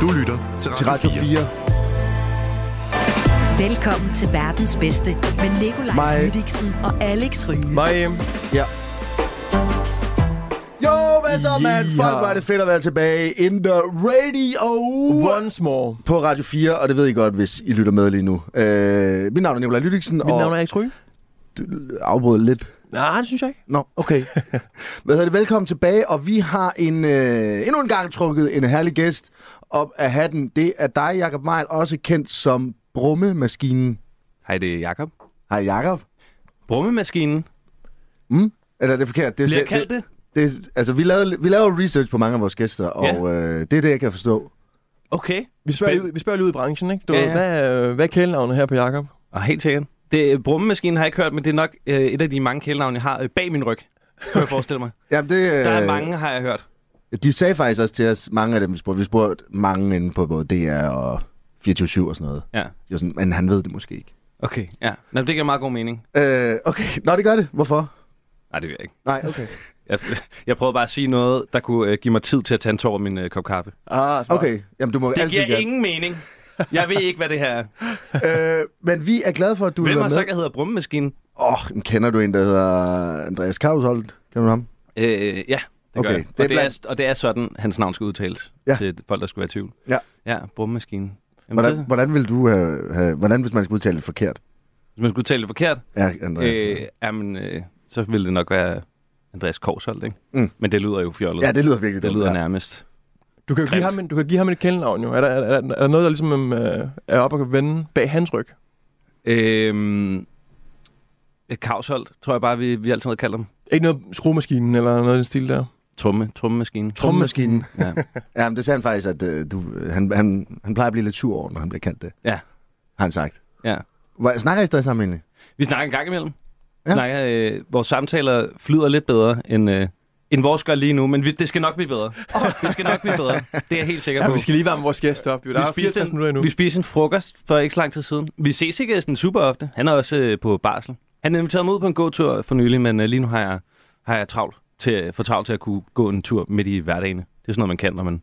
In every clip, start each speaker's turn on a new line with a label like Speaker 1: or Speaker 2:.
Speaker 1: Du lytter til Radio,
Speaker 2: til Radio 4.
Speaker 3: Velkommen til verdens bedste med Nikolaj
Speaker 2: Mig.
Speaker 3: Lydiksen og Alex Ryge.
Speaker 4: Mig, øhm,
Speaker 2: Ja. Jo, hvad så, mand? Fuck,
Speaker 4: Ja.
Speaker 2: hvor er det fedt at være tilbage in the radio
Speaker 4: once more.
Speaker 2: på Radio 4, og det ved I godt, hvis I lytter med lige nu. Øh, mit navn er Nicolaj Lydiksen,
Speaker 4: Mit
Speaker 2: og
Speaker 4: navn er Alex Ryge.
Speaker 2: afbryder lidt.
Speaker 4: Nej, det synes jeg ikke.
Speaker 2: Nå, okay. Hvad hedder det? Velkommen tilbage, og vi har en, øh, endnu en gang trukket en herlig gæst op af hatten. Det er dig, Jakob Mejl, også kendt som Brummemaskinen.
Speaker 4: Hej, det er Jakob.
Speaker 2: Hej, Jakob.
Speaker 4: Brummemaskinen.
Speaker 2: Eller det er forkert. Det er,
Speaker 4: Bliver
Speaker 2: selv-
Speaker 4: jeg kaldt det?
Speaker 2: Det, altså, vi lavede, vi lavede research på mange af vores gæster, og
Speaker 4: Ja.
Speaker 2: øh, det er det, jeg kan forstå.
Speaker 5: Okay.
Speaker 4: Vi spørger,
Speaker 5: Spænd-
Speaker 4: lige, ud- vi spørger lige ud i branchen, ikke? Du,
Speaker 5: Ja,
Speaker 4: ja, ja.
Speaker 5: ja.
Speaker 4: Hvad, øh, hvad er kælenavnet her på Jakob?
Speaker 5: Og helt sikkert. Det, øh, brummemaskinen har jeg ikke hørt, men det er nok øh, et af de mange kælenavne, jeg har øh, bag min ryg. Kan jeg forestille mig.
Speaker 2: Jamen, det, øh,
Speaker 5: Der er mange, har jeg hørt.
Speaker 2: De sagde faktisk også til os, mange af dem, vi spurgte. Vi spurgte mange inde på både DR og 24 og sådan noget.
Speaker 5: Ja.
Speaker 2: De var sådan, men han ved det måske ikke.
Speaker 5: Okay, ja. Nå, det giver meget god mening.
Speaker 2: Øh, okay. Nå, det gør det. Hvorfor?
Speaker 5: Nej, det ved jeg ikke.
Speaker 2: Nej, okay.
Speaker 5: Jeg, jeg prøvede bare at sige noget, der kunne øh, give mig tid til at tage en tår af min øh, kop kaffe. Det
Speaker 4: Ah, smart.
Speaker 2: Okay, jamen du må det altid
Speaker 5: giver
Speaker 2: gerne.
Speaker 5: ingen mening. Jeg ved ikke, hvad det her er.
Speaker 2: Øh, men vi er glade for, at du
Speaker 5: Hvem
Speaker 2: vil
Speaker 5: har
Speaker 2: være
Speaker 5: sagt,
Speaker 2: med.
Speaker 5: jeg hedder brummemaskinen?
Speaker 2: Åh, oh, kender du en, der hedder Andreas Kavsholt? Kender du ham?
Speaker 5: Øh, ja, det
Speaker 2: Okay,
Speaker 5: gør jeg.
Speaker 2: det
Speaker 5: Og
Speaker 2: er
Speaker 5: det,
Speaker 2: blandt-
Speaker 5: er, og det er sådan, hans navn skal udtales
Speaker 2: Ja.
Speaker 5: ja. til folk, der skulle være i tvivl.
Speaker 2: Ja.
Speaker 5: Ja, brummemaskinen.
Speaker 2: Hvordan,
Speaker 5: Jamen, Hvordan? Det,
Speaker 2: hvordan vil du have, have, hvordan hvis man skulle udtale det forkert?
Speaker 5: hvis man skulle tale det forkert,
Speaker 2: Ja, Andreas.
Speaker 5: Øh, jamen, øh, så ville det nok være Andreas Korsholt, ikke?
Speaker 2: Mm.
Speaker 5: Mm. Men det lyder jo fjollet.
Speaker 2: ja, det lyder virkelig
Speaker 5: det lyder
Speaker 2: dumt, ja.
Speaker 5: nærmest.
Speaker 4: Du kan jo give
Speaker 5: Grimt.
Speaker 4: ham, en- du kan give ham et kælenavn, jo. Er der, er, der- er der noget, der ligesom øh, er op og kan vende bag hans ryg?
Speaker 5: Øhm, øh, Kausholt, tror jeg bare, vi, vi altid har kaldt ham.
Speaker 4: Ikke noget skruemaskinen eller noget i den stil der?
Speaker 5: Tromme, trommemaskinen.
Speaker 2: Trommemaskinen.
Speaker 5: Ja.
Speaker 2: Ja, men det sagde han faktisk, at øh, du, han, han, han plejer at blive lidt sur over, når han bliver kaldt det.
Speaker 5: ja,
Speaker 2: Har han sagt.
Speaker 5: ja.
Speaker 2: Hvor, snakker I stadig sammen egentlig?
Speaker 5: Vi snakker en gang imellem.
Speaker 2: Ja.
Speaker 5: Ja. Snakker, øh, vores samtaler flyder lidt bedre, end, øh, end vores gør lige nu, men vi, det skal nok blive bedre. det skal nok blive bedre. Det er jeg helt sikker
Speaker 4: Ja,
Speaker 5: på.
Speaker 4: vi skal lige varme vores gæst op, jo. Der
Speaker 5: vi
Speaker 4: er
Speaker 5: spiste,
Speaker 4: 64 minutter endnu.
Speaker 5: en, vi spiste en frokost for ikke så lang tid siden. Vi ses ikke sådan super ofte. Han er også øh, på barsel. Han inviterede mig ud på en gåtur for nylig, men øh, lige nu har jeg, har jeg travlt til, øh, for travlt til at kunne gå en tur midt i hverdagen. Det er sådan noget, man kan, når man,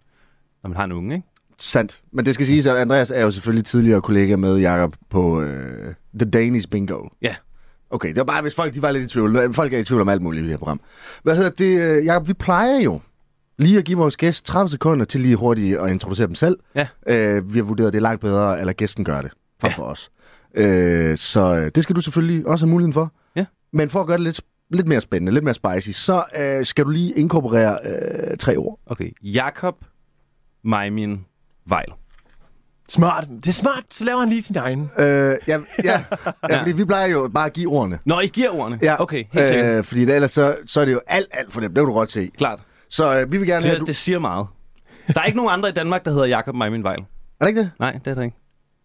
Speaker 5: når man har en unge, ikke?
Speaker 2: Sandt. Men det skal siges, at Andreas er jo selvfølgelig tidligere kollega med Jakob på øh, The Danish Bingo.
Speaker 5: Ja.
Speaker 2: Okay, det var bare, hvis folk de var lidt i tvivl. Folk er i tvivl om alt muligt i det her program. Hvad hedder det? øh, Jakob, vi plejer jo lige at give vores gæst 30 sekunder til lige hurtigt at introducere dem selv.
Speaker 5: Ja.
Speaker 2: Øh, vi har vurderet, at det er langt bedre, eller gæsten gør det, frem for os. Øh, så øh, det skal du selvfølgelig også have muligheden for.
Speaker 5: Ja.
Speaker 2: Men for at gøre det lidt, lidt mere spændende, lidt mere spicy, så øh, skal du lige inkorporere øh, tre ord.
Speaker 5: Okay. Jakob Meimin Vejl.
Speaker 4: Smart. Det er smart. Så laver han lige sin egen.
Speaker 2: Øh, ja, ja, ja, ja, fordi vi plejer jo bare at give ordene.
Speaker 5: Nå, I giver ordene?
Speaker 2: Ja,
Speaker 5: Okay, helt øh, sikkert.
Speaker 2: øh, fordi ellers så, så er det jo alt, alt for nemt. Det kan du godt se.
Speaker 5: Klart.
Speaker 2: Så øh, vi vil gerne have... Du...
Speaker 5: Det, det siger meget. Der er ikke nogen andre i Danmark, der hedder Jakob Meimin Vejl.
Speaker 2: Er det ikke det?
Speaker 5: Nej, det er der ikke.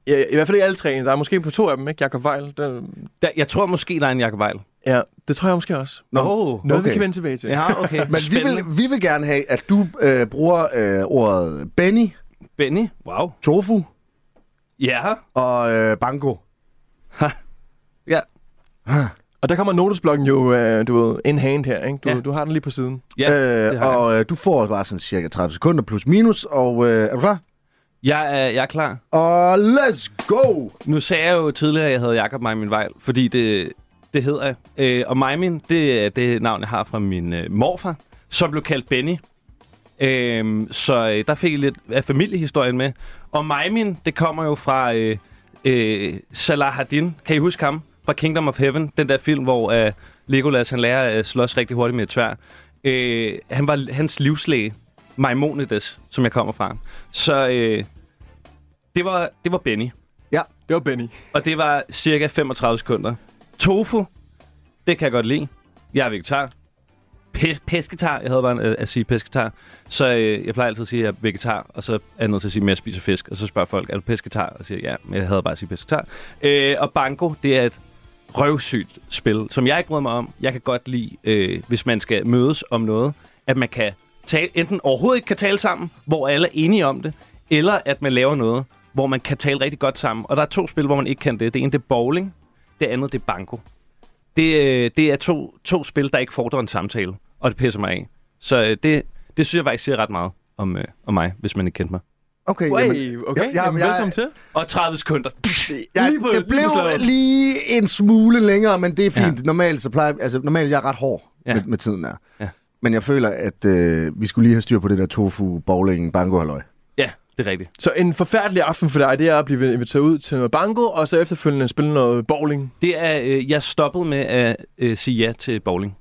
Speaker 4: Ja, I hvert fald ikke alle tre. Der er måske på to af dem, ikke? Jakob Weil. Der,
Speaker 5: Der, jeg tror måske, der er en Jakob Vejl.
Speaker 4: ja, det tror jeg måske også.
Speaker 2: Nå,
Speaker 5: Åh,
Speaker 4: Noget, okay. vi
Speaker 2: okay.
Speaker 4: kan vende tilbage til.
Speaker 5: Ja, okay.
Speaker 2: Men vi
Speaker 5: Spændende.
Speaker 2: vil, vi vil gerne have, at du øh, bruger øh, ordet Benny,
Speaker 5: Benny? Wow.
Speaker 2: tofu
Speaker 5: Ja.
Speaker 2: og øh, banko.
Speaker 5: Ja.
Speaker 4: Og der kommer notesblokken jo, øh, du ved, in hand her, ikke? Du, ja.
Speaker 5: Ja.
Speaker 4: du har den lige på siden.
Speaker 5: Ja, øh, det
Speaker 2: øh,
Speaker 5: har jeg.
Speaker 2: og øh, du får bare sådan cirka 30 sekunder plus minus, og øh, er du klar?
Speaker 5: Jeg, er, jeg er klar.
Speaker 2: Og let's go!
Speaker 5: Nu sagde jeg jo tidligere, at jeg hedder Jakob Meimin Vejl, fordi det, det hedder jeg. Øh, og Meimin, det er det navn, jeg har fra min øh, morfar, som blev kaldt Benny. Øh, så øh, der fik jeg lidt af familiehistorien med. Og Meimin, det kommer jo fra øh, øh, Salahaddin. Kan I huske ham? Fra Kingdom of Heaven, den der film, hvor øh, Legolas han lærer at slås rigtig hurtigt med et tvær. Øh, han var hans livslæge, Maimonides, som jeg kommer fra. Så øh, det, var, det var Benny.
Speaker 4: Det var Benny.
Speaker 5: Og det var cirka 35 sekunder. Tofu, det kan jeg godt lide. Jeg er vegetar. Pe- pesketar, jeg havde bare øh, at sige pesketar. Så øh, jeg plejer altid at sige, at jeg er vegetar, og så er jeg nødt til at sige, at jeg spiser fisk. Og så spørger folk, er du pesketar? Og siger, ja, men jeg havde bare at sige pesketar. Øh, og banko, det er et røvsygt spil, som jeg ikke bryder mig om. Jeg kan godt lide, øh, hvis man skal mødes om noget, at man kan tale, enten overhovedet ikke kan tale sammen, hvor alle er enige om det, eller at man laver noget, hvor man kan tale rigtig godt sammen. Og der er to spil, hvor man ikke kan det. Det ene det er bowling, det andet det er banko. Det, øh, det er to, to spil, der ikke fordrer en samtale, og det pisser mig af. Så øh, det, det synes jeg faktisk siger ret meget om, øh, om mig, hvis man ikke kendte mig.
Speaker 2: Okay,
Speaker 4: Hey,
Speaker 2: jamen,
Speaker 4: okay, okay.
Speaker 2: jeg-
Speaker 4: Jeg,
Speaker 2: jeg-
Speaker 4: jamen,
Speaker 2: jeg-
Speaker 4: velkommen til.
Speaker 5: Og 30 sekunder.
Speaker 2: jeg,
Speaker 5: Lige på-
Speaker 2: jeg
Speaker 5: lige på
Speaker 2: blev
Speaker 5: slaget.
Speaker 2: lige en smule længere, men det er
Speaker 5: Ja.
Speaker 2: fint. Ja. Normalt, så plejer, altså, normalt jeg er jeg ret hård
Speaker 5: Ja.
Speaker 2: ja. med, med tiden her.
Speaker 5: Ja.
Speaker 2: Men jeg føler, at øh, vi skulle lige have styr på det der tofu, bowling, bango halløj.
Speaker 5: Ja, det er rigtigt.
Speaker 4: Så en forfærdelig aften for dig, det er at blive inviteret ud til noget banko, og så efterfølgende spille noget bowling.
Speaker 5: Det er, øh, jeg stoppede med at øh, sige ja til bowling.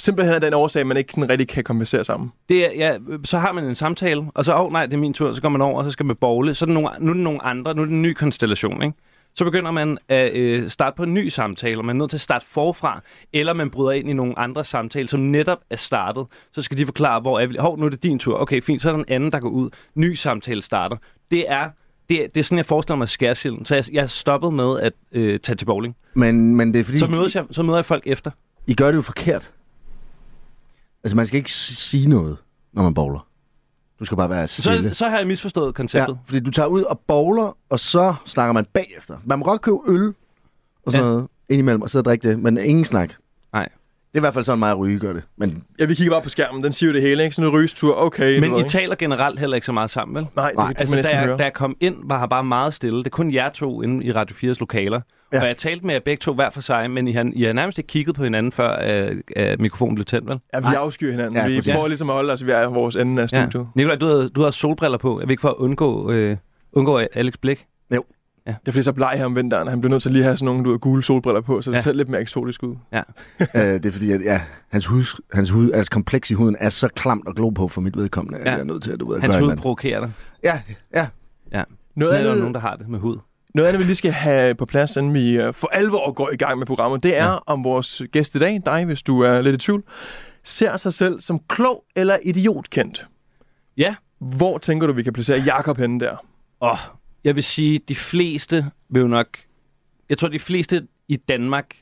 Speaker 4: Simpelthen af den årsag, at man ikke sådan rigtig kan kompensere sammen.
Speaker 5: Det er, ja, øh, så har man en samtale, og så, åh oh, nej, det er min tur, så går man over, og så skal man bowle. Så er der nogle, nu er det nogle andre, nu er det en ny konstellation, ikke? Så begynder man at øh, starte på en ny samtale, og man er nødt til at starte forfra, eller man bryder ind i nogle andre samtaler, som netop er startet. Så skal de forklare, hvor er vi? Hov, nu er det din tur. Okay, fint, så er der en anden, der går ud. Ny samtale starter. Det er, det, er- det er sådan, jeg forestiller mig skærsilden. Så jeg, jeg stoppede med at øh, tage til bowling.
Speaker 2: Men, men det er fordi,
Speaker 5: Så, mødes jeg, så møder jeg folk efter.
Speaker 2: I gør det jo forkert. Altså, man skal ikke s- sige noget, når man bowler. Du skal bare være
Speaker 5: Så,
Speaker 2: stille.
Speaker 5: så har jeg misforstået
Speaker 2: ja,
Speaker 5: konceptet.
Speaker 2: fordi du tager ud og bowler, og så snakker man bagefter. Man må godt købe øl og sådan
Speaker 5: Ja.
Speaker 2: ja. noget indimellem og sidde og drikke det, men ingen snak.
Speaker 5: Nej.
Speaker 2: Det er i hvert fald sådan, mig og Ryge gør det. Men
Speaker 4: Ja, vi kigger bare på skærmen, den siger jo det hele, ikke? Sådan en rygestur, okay. du
Speaker 5: Men
Speaker 4: ved,
Speaker 5: I
Speaker 4: ikke?
Speaker 5: taler generelt heller ikke så meget sammen, vel?
Speaker 4: Nej, det,
Speaker 2: Nej,
Speaker 4: det kan
Speaker 5: Altså,
Speaker 4: man næsten
Speaker 5: da,
Speaker 4: høre.
Speaker 5: jeg, da jeg kom ind, var her bare meget stille. Det er kun jer to inde i Radio 4's lokaler. Ja.
Speaker 2: Ja.
Speaker 5: Og jeg talte med jer begge to hver for sig, men I har, I har nærmest ikke kigget på hinanden, før øh, øh, mikrofonen blev tændt, vel?
Speaker 4: Ja, vi afskyr hinanden.
Speaker 2: Ja,
Speaker 4: Ja, vi
Speaker 2: præcis.
Speaker 4: prøver ligesom at holde os ved vores ende af studiet. Ja.
Speaker 5: Nikolaj, du havde, du havde solbriller på. Jeg ved ikke for at undgå, øh, undgå Alex Blik.
Speaker 4: Det er fordi, så bleg her om vinteren. Han blev nødt til lige at have sådan nogle du ved, gule solbriller på, så det
Speaker 5: Ja.
Speaker 4: ja. ser lidt mere eksotisk ud.
Speaker 2: øh, det er fordi, at ja, hans, hud, hans, hud, altså, kompleks i huden er så klamt og glo på for mit vedkommende, at
Speaker 5: Ja.
Speaker 2: jeg er nødt til at, du ved, at
Speaker 5: Hans
Speaker 2: gøre
Speaker 5: hud
Speaker 2: et eller
Speaker 5: provokerer dig.
Speaker 2: andet. Ja, ja.
Speaker 5: Ja.
Speaker 4: Noget
Speaker 5: Noget Sådan er der
Speaker 4: andet-
Speaker 5: jo nogen, der har det med hud.
Speaker 4: Noget andet, vi lige skal have på plads, inden vi øh, for alvor går i gang med programmet, det er, ja. om vores gæst i dag, dig, hvis du er lidt i tvivl, ser sig selv som klog eller idiotkendt.
Speaker 5: Ja.
Speaker 4: Hvor tænker du, vi kan placere Jakob henne der?
Speaker 5: Og jeg vil sige, de fleste vil jo nok... Jeg tror, de fleste i Danmark,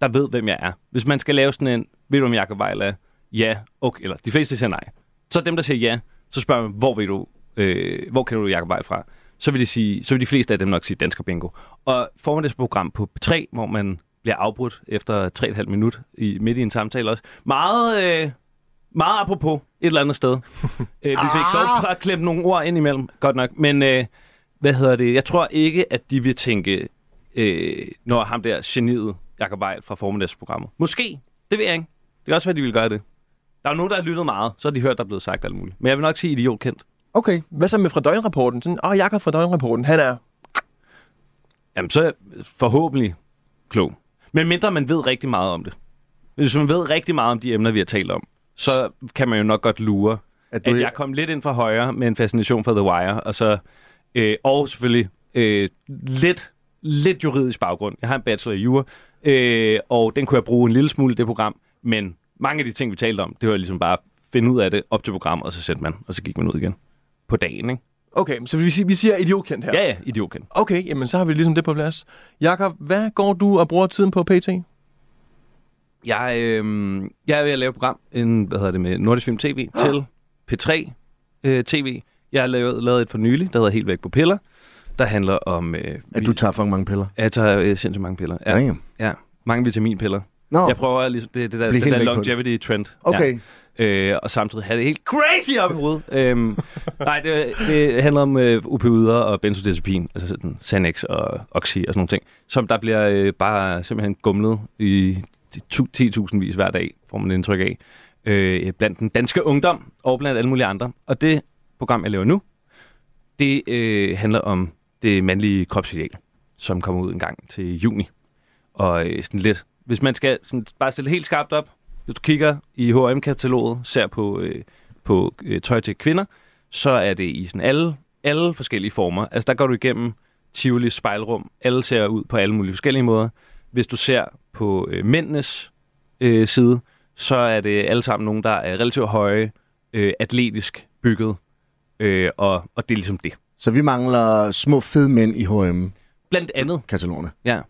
Speaker 5: der ved, hvem jeg er. Hvis man skal lave sådan en, ved du, om Jacob Weil er ja, okay, eller de fleste siger nej. Så dem, der siger ja, så spørger man, hvor, ved du, øh, hvor kender du Jacob Weil fra? Så vil, de sige, så vil de fleste af dem nok sige dansker bingo. Og formiddagsprogram på P3, hvor man bliver afbrudt efter 3,5 minut i, midt i en samtale også. Meget, øh, meget apropos et eller andet sted. øh, vi fik dog at klemme nogle ord ind imellem, godt nok. Men øh, hvad hedder det? Jeg tror ikke, at de vil tænke, øh, når ham der geniet Jacob Weil fra formiddagsprogrammet. Måske. Det ved jeg ikke. Det kan også være, de vil gøre det. Der er jo nogen, der har lyttet meget, så har de hørt, der er blevet sagt alt muligt. Men jeg vil nok sige idiotkendt.
Speaker 2: Okay.
Speaker 4: Hvad så med fra døgnrapporten? Sådan, åh, Jakob fra døgnrapporten, han er...
Speaker 5: Jamen, så er jeg forhåbentlig klog. Men mindre man ved rigtig meget om det. Hvis man ved rigtig meget om de emner, vi har talt om, så kan man jo nok godt lure,
Speaker 2: At
Speaker 5: at,
Speaker 2: du-
Speaker 5: at jeg kom lidt ind fra højre med en fascination for The Wire, og så øh, og selvfølgelig øh, lidt, lidt juridisk baggrund. Jeg har en bachelor i jura, øh, og den kunne jeg bruge en lille smule i det program, men mange af de ting, vi talte om, det var ligesom bare at finde ud af det op til programmet, og så sendte man, og så gik man ud igen på dagen, ikke?
Speaker 4: Okay, så vi, siger- vi siger idiotkendt her.
Speaker 5: Ja, ja, idiotkendt.
Speaker 4: Okay, jamen så har vi ligesom det på plads. Jakob, hvad går du og bruger tiden på PT?
Speaker 5: Jeg, øh, jeg er ved at lave et program, en, hvad hedder det med Nordisk Film TV, til P3 øh, TV. Jeg har lavet, lavet et for nylig, der hedder Helt væk på piller, der handler om... Øh,
Speaker 2: At du tager for mange piller.
Speaker 5: jeg tager øh, sindssygt mange piller. Ja,
Speaker 2: Damn.
Speaker 5: ja. Mange vitaminpiller.
Speaker 2: Nå,
Speaker 5: Jeg prøver ligesom, det, det der,
Speaker 2: Bliv
Speaker 5: det
Speaker 2: helt
Speaker 5: der
Speaker 2: væk på det.
Speaker 5: longevity-trend.
Speaker 2: okay.
Speaker 5: Ja. Øh, og samtidig have det helt crazy op i hovedet. øhm, nej, det, det handler om øh, opioider og benzodiazepin, altså sådan Xanax og Oxy og sådan nogle ting, som der bliver øh, bare simpelthen gumlet i tu- 10.000 vis hver dag, får man indtryk af, øh, blandt den danske ungdom og blandt alle mulige andre. Og det program, jeg laver nu, det øh, handler om det mandlige kropsideal, som kommer ud en gang til juni. Og øh, sådan lidt, hvis man skal sådan, bare stille helt skarpt op, hvis du kigger i H&M-kataloget, ser på, øh, på øh, tøj til kvinder, så er det i sådan alle, alle forskellige former. Altså der går du igennem Tivoli spejlrum. Alle ser ud på alle mulige forskellige måder. Hvis du ser på øh, mændenes øh, side, så er det alle sammen nogen, der er relativt høje, øh, atletisk bygget, øh, og, og det er ligesom det.
Speaker 2: Så vi mangler små fede mænd i H&M-katalogerne.
Speaker 5: Blandt andet, ja.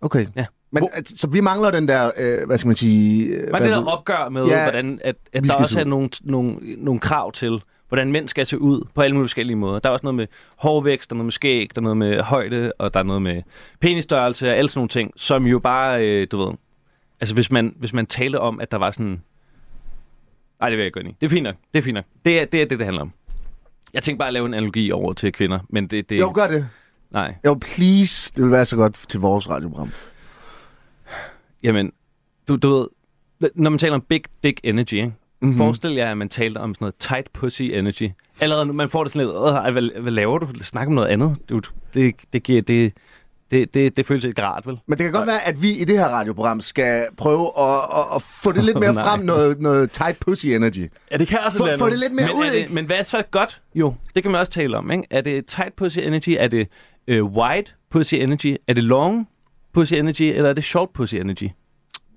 Speaker 2: Okay.
Speaker 5: Ja.
Speaker 2: Men,
Speaker 5: Hvor-
Speaker 2: at, så vi mangler den der, øh, hvad skal man sige... Øh,
Speaker 5: Man det
Speaker 2: hvad-
Speaker 5: der opgør med,
Speaker 2: Ja,
Speaker 5: ja, hvordan, at, at
Speaker 2: vi
Speaker 5: der
Speaker 2: skal
Speaker 5: også
Speaker 2: se
Speaker 5: er nogle, nogle, nogle krav til, hvordan mænd skal se ud på alle mulige forskellige måder. Der er også noget med hårvækst, der er noget med skæg, der er noget med højde, og der er noget med penisstørrelse og alle sådan nogle ting, som jo bare, øh, du ved... Altså, hvis man, hvis man talte om, at der var sådan... Nej, det vil jeg ikke gå ind i. Det er fint nok. Det er fint nok. Det er det, er det, det handler om. Jeg tænkte bare at lave en analogi over til kvinder, men det... det
Speaker 2: Jo, gør det.
Speaker 5: Nej.
Speaker 2: Jo, please. Det vil være så godt til vores radioprogram.
Speaker 5: Jamen, du, du ved... Når man taler om big dick energy, ikke?
Speaker 2: Mhm.
Speaker 5: Mm-hmm. Forestil jer, at man talte om sådan noget tight pussy energy. Allerede nu, man får det sådan lidt, "Åh, ej, hvad, hvad laver du? Snak om noget andet. Du, det, det, giver, det, det, det, det føles ikke rart, vel?
Speaker 2: Men det kan godt være, at vi i det her radioprogram skal prøve at, at, at få det lidt mere
Speaker 5: Nej.
Speaker 2: frem, noget, noget tight pussy energy.
Speaker 4: Ja, det kan altså
Speaker 2: Få,
Speaker 4: noget
Speaker 2: få det
Speaker 4: andet.
Speaker 2: lidt mere
Speaker 5: men,
Speaker 2: ud,
Speaker 5: er det,
Speaker 2: ikke?
Speaker 5: men hvad er så godt? Jo, det kan man også tale om. Ikke? Er det tight pussy energy? Er det øh, wide pussy energy? Er det long pussy energy? Eller er det short pussy energy?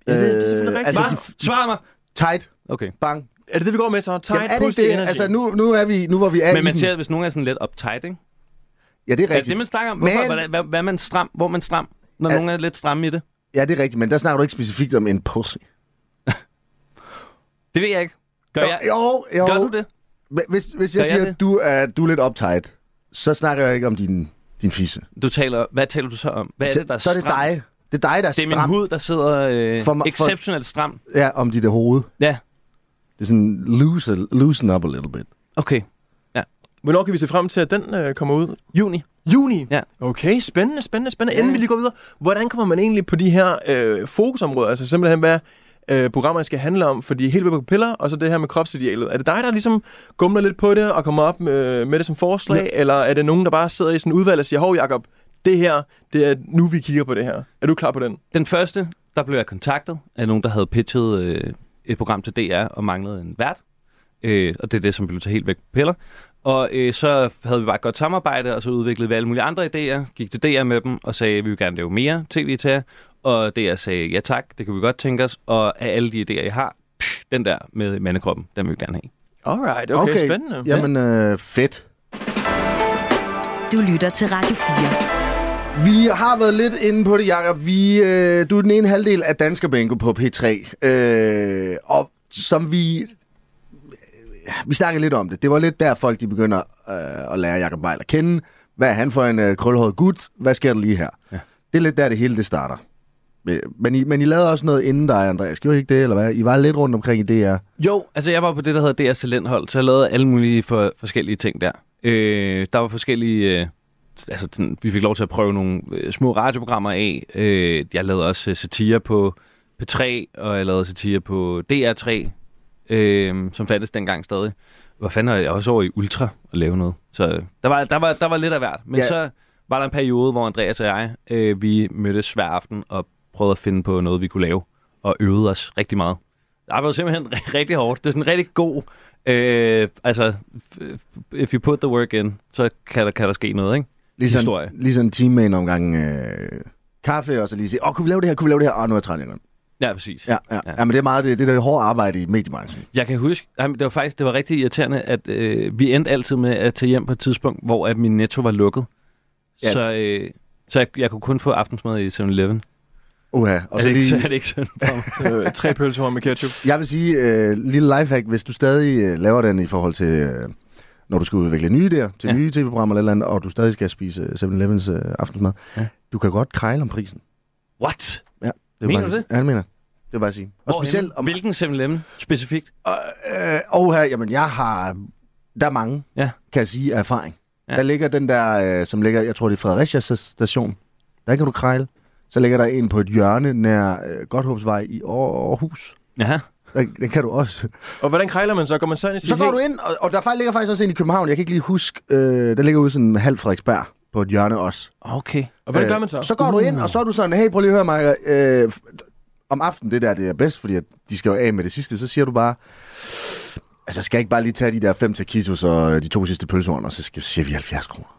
Speaker 4: Ja, det, det er selvfølgelig
Speaker 2: Øh,
Speaker 4: rigtigt.
Speaker 2: altså,
Speaker 5: Altså,
Speaker 4: Hva?
Speaker 2: de
Speaker 5: Bare,
Speaker 2: f-
Speaker 5: svar mig!
Speaker 2: Tight,
Speaker 5: Okay.
Speaker 2: bang.
Speaker 4: Er det det, vi går med så? Tight
Speaker 2: Jamen, er det
Speaker 4: pussy
Speaker 2: ikke det?
Speaker 4: energy.
Speaker 2: Altså, nu, nu er vi, nu hvor vi er i
Speaker 5: Men man
Speaker 2: den.
Speaker 5: ser, at hvis nogen er sådan lidt uptight, ikke?
Speaker 2: Ja, det er
Speaker 5: Er det det,
Speaker 2: rigtigt.
Speaker 5: man snakker om?
Speaker 2: Men-
Speaker 5: Hvorfor, hvordan, hvad, hvad er man stram? Hvor er man stram? Når
Speaker 2: Er-
Speaker 5: nogen er lidt stramme i det?
Speaker 2: Ja, det er rigtigt, men der snakker du ikke specifikt om en pussy.
Speaker 5: Det ved jeg ikke. Gør, jeg,
Speaker 2: Jo, jo.
Speaker 5: gør du det?
Speaker 2: Hva- Hvis, hvis jeg
Speaker 5: Gør jeg
Speaker 2: siger,
Speaker 5: det?
Speaker 2: at du er, du er lidt uptight, så snakker jeg ikke om din, din fisse.
Speaker 5: Du taler, hvad taler du så om? Hvad er det, der er
Speaker 2: så er det
Speaker 5: stramt?
Speaker 2: dig. Det er dig, der er
Speaker 5: Det er min
Speaker 2: stram.
Speaker 5: hud, der sidder øh,
Speaker 2: For mig- for-
Speaker 5: exceptionelt stramt.
Speaker 2: Ja, om dit hoved.
Speaker 5: Ja,
Speaker 2: Det er sådan, loose, loosen up a little bit.
Speaker 5: okay.
Speaker 4: Hvornår kan vi se frem til, at den øh, kommer ud?
Speaker 5: Juni.
Speaker 4: Juni?
Speaker 5: Ja.
Speaker 4: Okay, spændende, spændende, spændende. Inden vi lige går videre, hvordan kommer man egentlig på de her øh, fokusområder? Altså simpelthen, hvad øh, programmerne skal handle om? Fordi helt vildt på piller, og så det her med kropsidealet. Er det dig, der ligesom gumler lidt på det og kommer op øh, med det som forslag? Eller er det nogen, der bare sidder i sådan en udvalg og siger, hov Jacob, det her, det er nu, vi kigger på det her. Er du klar på den?
Speaker 5: Den første, der blev jeg kontaktet af nogen, der havde pitchet øh, et program til DR og manglede en vært. Øh, og det er det, som blev taget helt væk på piller. Og øh, så havde vi bare et godt samarbejde, og så udviklede vi alle mulige andre idéer, gik til DR med dem og sagde, at vi vil gerne lave mere tv til jer. Og DR sagde, ja tak, det kan vi godt tænke os. Og af alle de idéer, jeg har, pff, den der med mandekroppen, den vil vi gerne have.
Speaker 4: Alright, okay, okay. spændende.
Speaker 2: Jamen, øh, fedt.
Speaker 3: Du lytter til Radio 4.
Speaker 2: Vi har været lidt inde på det, Jacob. Vi, øh, du er den ene halvdel af Dansker Bingo på P3. Øh, og som vi... øh, Vi snakkede lidt om det. Det var lidt der, folk de begynder øh, at lære Jacob Weil at kende. Hvad er han for en øh, krølhåret gut? Hvad sker der lige her? Ja. Det er lidt der, det hele det starter. Øh, Men I, men I lavede også noget inden dig, Andreas. Gjorde I ikke det, eller hvad? I var lidt rundt omkring i DR.
Speaker 5: Jo, altså jeg var på det, der hedder DR's Talenthold, så jeg lavede alle mulige for, forskellige ting der. Øh, der var forskellige... Øh, altså, sådan, vi fik lov til at prøve nogle øh, små radioprogrammer af. Øh, jeg lavede også øh, satire på P3, og jeg lavede satire på DR3, øh, som fandtes dengang stadig. Hvor fanden er jeg også over i Ultra at lave noget? Så øh, der var, der var, der var lidt af hvert. Men
Speaker 2: Ja.
Speaker 5: ja. så var der en periode, hvor Andreas og jeg, øh, vi mødtes hver aften og prøvede at finde på noget, vi kunne lave. Og øvede os rigtig meget. Jeg arbejdede simpelthen ri- rigtig hårdt. Det er sådan en rigtig god... Øh, altså, f- if you put the work in, så kan der, kan der ske noget, ikke?
Speaker 2: Ligesom,
Speaker 5: Historie.
Speaker 2: ligesom en time med en omgang øh, kaffe, og så lige sige, åh, kunne vi lave det her, kunne vi lave det her? Åh, nu er jeg træt igen.
Speaker 5: Ja, præcis.
Speaker 2: Ja, ja. ja. ja men det er meget det, det er det hårde arbejde i mediebranchen.
Speaker 5: Jeg kan huske, jamen, det var faktisk det var rigtig irriterende, at øh, vi endte altid med at tage hjem på et tidspunkt, hvor at min netto var lukket.
Speaker 2: Ja.
Speaker 5: Ja. Så, øh, så jeg, jeg kunne kun få aftensmad i 7-Eleven.
Speaker 2: Uha.
Speaker 5: Er,
Speaker 2: Og så
Speaker 5: det ikke- er
Speaker 2: lige,
Speaker 5: det ikke sådan for mig?
Speaker 4: øh, tre pølsehår med ketchup.
Speaker 2: jeg vil sige, øh, lille lifehack, hvis du stadig øh, laver den i forhold til, øh, når du skal udvikle nye der, til ja.
Speaker 5: Ja.
Speaker 2: nye tv-programmer eller et eller andet, og du stadig skal spise øh, 7-Elevens øh, aftensmad, ja.
Speaker 5: Ja.
Speaker 2: du kan godt krejle om prisen.
Speaker 5: What?
Speaker 2: Det er
Speaker 5: Mener du
Speaker 2: faktisk,
Speaker 5: det?
Speaker 2: Ja, det mener jeg. Det vil bare sige. Og
Speaker 5: Hvorhenne?
Speaker 2: specielt om...
Speaker 5: Hvilken 7-Eleven specifikt?
Speaker 2: Øh, og her, jamen, jeg har... Der er mange,
Speaker 5: Ja.
Speaker 2: kan jeg sige, af erfaring. Ja.
Speaker 5: Ja.
Speaker 2: Der ligger den der, øh, som ligger, jeg tror, det er Fredericia st- station. Der kan du krejle. Så ligger der en på et hjørne nær øh, Godthåbsvej i Aar- Aarhus.
Speaker 5: Ja.
Speaker 2: Der, den kan du også.
Speaker 4: Og hvordan krejler man så? Går man så ind i
Speaker 2: Så
Speaker 4: sin
Speaker 2: går
Speaker 4: helt-
Speaker 2: du ind, og, og der faktisk ligger faktisk også en i København. Jeg kan ikke lige huske. Øh, der ligger ude sådan halv Frederiksberg på et hjørne også.
Speaker 5: Okay.
Speaker 4: Og hvordan
Speaker 2: Øh,
Speaker 4: gør man så?
Speaker 2: Så går du ind, og så er du sådan, hey, prøv lige at høre mig. Øh, f- om aftenen, det der, det er bedst, fordi at de skal jo af med det sidste. Så siger du bare, altså skal jeg ikke bare lige tage de der fem taquitos og øh, de to sidste pølsehorn, og så skal, siger vi 70 kroner.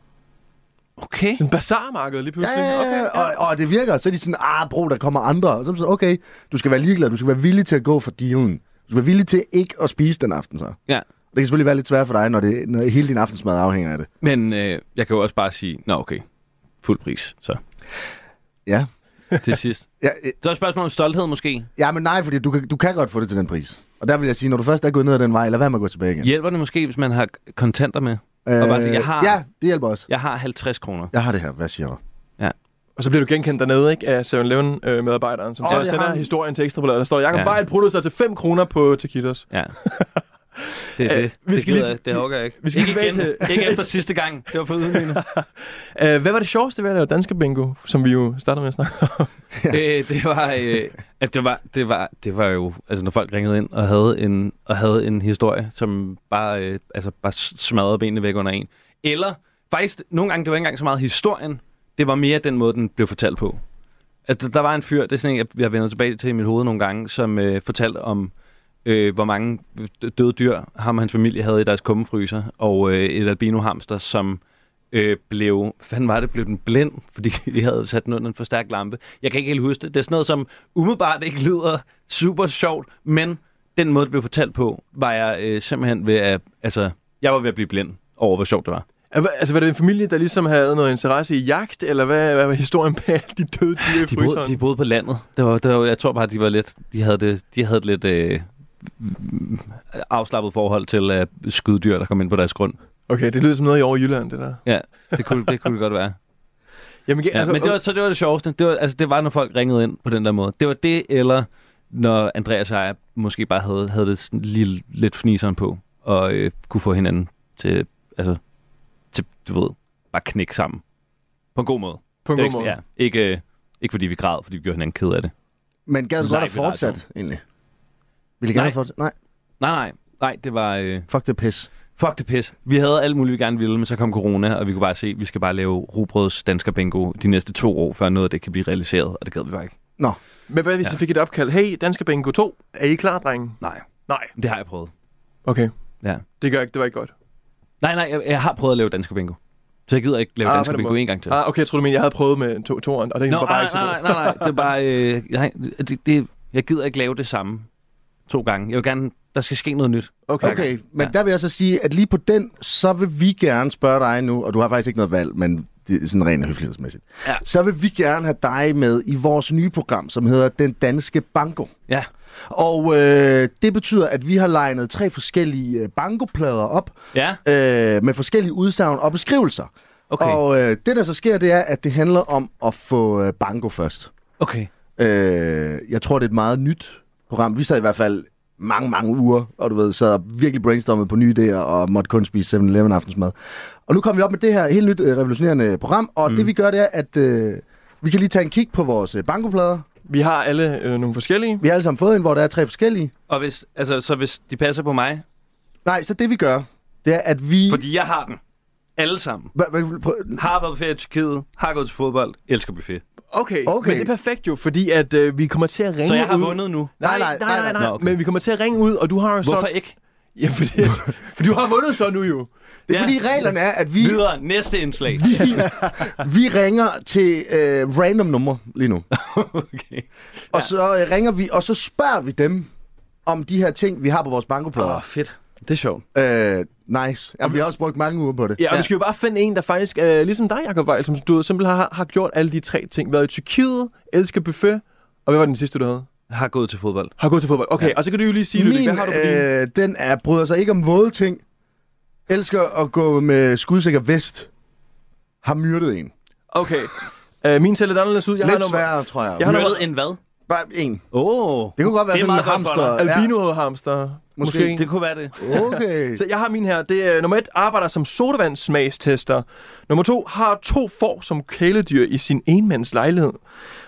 Speaker 5: Okay.
Speaker 4: Sådan bazarmarked lige pludselig. Okay,
Speaker 2: Og, og, det virker. Så er de sådan, ah, bro, der kommer andre. Og så er man sådan, okay, du skal være ligeglad, du skal være villig til at gå for dealen. Du skal være villig til ikke at spise den aften så.
Speaker 5: Ja.
Speaker 2: Det kan selvfølgelig være lidt svært for dig, når, det, når hele din aftensmad afhænger af det.
Speaker 5: Men øh, jeg kan jo også bare sige, nå okay, fuld pris, så
Speaker 2: Ja.
Speaker 5: til sidst.
Speaker 2: Ja, øh,
Speaker 5: Så er et spørgsmål om stolthed måske.
Speaker 2: ja, men nej, fordi du kan, du kan godt få det til den pris. Og der vil jeg sige, når du først er gået ned ad den vej, lad være med at gå tilbage igen.
Speaker 5: Hjælper det måske, hvis man har kontanter med? og bare sige, jeg har-
Speaker 2: Øh, Ja, det hjælper også.
Speaker 5: Jeg har 50 kroner.
Speaker 2: Jeg har det her. Hvad siger du?
Speaker 4: Og så bliver du genkendt dernede, ikke? Af 7-Eleven-medarbejderen, som
Speaker 2: Åh,
Speaker 4: oh,
Speaker 2: det
Speaker 4: sender
Speaker 2: har han.
Speaker 4: historien til Ekstrabladet. Der står, Jakob
Speaker 5: Ja.
Speaker 4: ja. Vejl pruttede sig til 5 kroner på taquitos.
Speaker 5: Ja. Det er
Speaker 4: Øh,
Speaker 5: det.
Speaker 4: vi
Speaker 5: det
Speaker 4: skal
Speaker 5: gider
Speaker 4: lige-
Speaker 5: jeg- Det orker jeg ikke.
Speaker 4: vi skal
Speaker 5: ikke,
Speaker 4: tilbage
Speaker 5: igen.
Speaker 4: til-
Speaker 5: ikke efter sidste gang. Det var for ydmygende.
Speaker 4: Øh, hvad var det sjoveste ved at lave danske bingo, som vi jo startede med at snakke om?
Speaker 5: det, det var, øh, at det var, det var, det var jo, altså når folk ringede ind og havde en, og havde en historie, som bare, øh, altså bare smadrede benene væk under en. Eller faktisk, nogle gange, det var ikke engang så meget historien, det var mere den måde, den blev fortalt på. Altså, der var en fyr, det er sådan en, jeg, jeg vender tilbage til i mit hoved nogle gange, som øh, fortalte om, øh, hvor mange døde dyr ham og hans familie havde i deres kummefryser, og øh, et albinohamster, som øh, blev, hvad fanden var det, blev den blind, fordi de havde sat den under en for stærk lampe. Jeg kan ikke helt huske det. Det er sådan noget, som umiddelbart ikke lyder super sjovt, men den måde, det blev fortalt på, var jeg øh, simpelthen ved at, altså, jeg var ved at blive blind over, hvor sjovt det var.
Speaker 4: Er- hva- Altså, var det en familie, der ligesom havde noget interesse i jagt, eller hvad, hvad var historien bag alle de døde dyr i
Speaker 5: Ah, De boede,
Speaker 4: fryseren?
Speaker 5: de boede på landet. Det var, det var, jeg tror bare, de var lidt, de havde det, de havde et lidt øh, afslappet forhold til øh, skyddyr, der kom ind på deres grund.
Speaker 4: Okay, det lyder som noget i over Jylland, det der.
Speaker 5: Ja, det kunne det, kunne det godt være.
Speaker 4: Jamen,
Speaker 5: Ja, altså, men det var, så det var det sjoveste. Det var, altså, det var, når folk ringede ind på den der måde. Det var det, eller når Andreas og jeg måske bare havde, havde det sådan lige lidt fniseren på, og øh, kunne få hinanden til, altså, til, du ved, bare knække sammen. På en god måde.
Speaker 4: på en
Speaker 5: Det var
Speaker 4: god måde.
Speaker 5: ikke- Ja, ikke, øh, ikke fordi vi græd, fordi vi gjorde hinanden ked af det.
Speaker 2: Men gad du godt
Speaker 5: Nej,
Speaker 2: have
Speaker 5: vi har
Speaker 2: fortsat, egentlig? Vil I gerne
Speaker 5: Nej.
Speaker 2: have fortsat? Nej,
Speaker 5: Nej, nej, nej, det var... Øh,
Speaker 2: fuck det pis.
Speaker 5: Fuck det pis. Vi havde alt muligt, vi gerne ville, men så kom corona, og vi kunne bare se, at vi skal bare lave rugbrøds dansker bingo de næste to år, før noget af det kan blive realiseret, og det gad vi bare ikke.
Speaker 4: Men hvad hvis
Speaker 5: Ja.
Speaker 4: jeg fik et opkald? Hey, Danske Bingo 2, er I klar, drenge?
Speaker 5: Nej,
Speaker 4: Nej.
Speaker 5: det har jeg prøvet.
Speaker 4: Okay.
Speaker 5: Ja.
Speaker 4: Det gør ikke, det var ikke godt.
Speaker 5: Nej, nej, jeg, jeg har prøvet at lave dansker bingo. Så jeg gider ikke lave
Speaker 4: Ah, på
Speaker 5: ah, dansker
Speaker 4: den
Speaker 5: bingo
Speaker 4: måde.
Speaker 5: en gang til.
Speaker 4: Ah, okay, jeg tror du mener, jeg havde prøvet med to, toren, og den
Speaker 5: Nå, ah,
Speaker 4: var bare
Speaker 5: nej,
Speaker 4: ikke så god.
Speaker 5: nej, nej, nej, nej, det er bare, øh, nej, det, det, jeg gider ikke lave det samme to gange. Jeg vil gerne, der skal ske noget nyt.
Speaker 4: Okay. okay.
Speaker 2: Okay, men
Speaker 5: Ja.
Speaker 2: der vil jeg så sige, at lige på den, så vil vi gerne spørge dig nu, og du har faktisk ikke noget valg, men det er sådan rent høflighedsmæssigt.
Speaker 5: Ja.
Speaker 2: Så vil vi gerne have dig med i vores nye program, som hedder Den Danske Banko.
Speaker 5: Ja,
Speaker 2: Og øh, det betyder, at vi har legnet tre forskellige øh, bankoplader op,
Speaker 5: ja,
Speaker 2: øh, med forskellige udsagn og beskrivelser.
Speaker 5: okay,
Speaker 2: Og øh, det, der så sker, det er, at det handler om at få øh, banko først.
Speaker 5: okay.
Speaker 2: Øh, jeg tror, det er et meget nyt program. Vi sad i hvert fald mange, mange uger, og du ved, sad og virkelig brainstormet på nye idéer, og måtte kun spise 7-Eleven aftensmad. Og nu kommer vi op med det her helt nyt øh, revolutionerende program, og mm. det vi gør, det er, at øh, vi kan lige tage en kig på vores øh, bankoplader.
Speaker 4: Vi har alle øh, nogle forskellige.
Speaker 2: Vi har alle sammen fået en, hvor der er tre forskellige.
Speaker 5: Og hvis, altså, så hvis de passer på mig,
Speaker 2: Nej, så det vi gør, det er, at vi...
Speaker 5: fordi jeg har den, alle sammen,
Speaker 2: Hva- hva- prøv-
Speaker 5: har været på ferie i Tyrkiet, har gået til fodbold, elsker buffet.
Speaker 4: Okay,
Speaker 2: Okay.
Speaker 4: men det er perfekt jo, fordi at øh, vi kommer til at ringe
Speaker 5: Så jeg har
Speaker 4: ud.
Speaker 5: vundet nu.
Speaker 4: Nej,
Speaker 2: Nej,
Speaker 4: nej,
Speaker 2: nej,
Speaker 4: nej,
Speaker 2: nej.
Speaker 4: nej, nej.
Speaker 5: Nå, okay.
Speaker 4: men vi kommer til at ringe ud, og du har jo
Speaker 5: Hvorfor
Speaker 4: så...
Speaker 5: ikke?
Speaker 4: Ja, fordi, for du har vundet så nu jo.
Speaker 2: det er fordi reglerne er, at vi,
Speaker 5: Videre, næste indslag.
Speaker 2: vi, vi ringer til øh, random numre lige nu.
Speaker 5: Okay.
Speaker 2: Og så øh, ringer vi, og så spørger vi dem om de her ting, vi har på vores bankoplader.
Speaker 5: Åh, oh, fedt. Det er sjovt.
Speaker 2: Øh, nice. Jamen, vi har også brugt mange uger på det.
Speaker 4: Ah. Ja, og ja.
Speaker 5: Ja.
Speaker 4: vi skal jo bare finde en, der faktisk, øh, ligesom dig, Jacob Vejl, som du simpelthen har, har gjort alle de tre ting. Været i Tyrkiet, elsker buffet, og hvad var den sidste, du havde?
Speaker 5: Har gået til fodbold.
Speaker 4: Har gået til fodbold. Okay, ja. og så kan du jo lige sige, Ludvig, hvad har du på din?
Speaker 2: øh, den er, bryder sig ikke om våde ting. Elsker at gå med skudsikker vest. Har myrdet en.
Speaker 4: Okay. Øh, min ser lidt anderledes ud. Jeg
Speaker 2: Lidt
Speaker 4: har nummer...
Speaker 2: sværere, tror jeg.
Speaker 4: Jeg har nummer...
Speaker 5: en hvad?
Speaker 2: Bare en.
Speaker 5: Åh. Oh.
Speaker 2: Det kunne godt være
Speaker 5: Det er
Speaker 2: sådan en
Speaker 5: meget godt for
Speaker 2: hamster.
Speaker 4: Albino-hamster. Måske.
Speaker 2: Måske.
Speaker 4: måske.
Speaker 5: Det kunne være det.
Speaker 2: Ja. Okay.
Speaker 4: Så jeg har min her. Det er nummer et, arbejder som sodavandssmagstester. Nummer to, har to får som kæledyr i sin enmands lejlighed.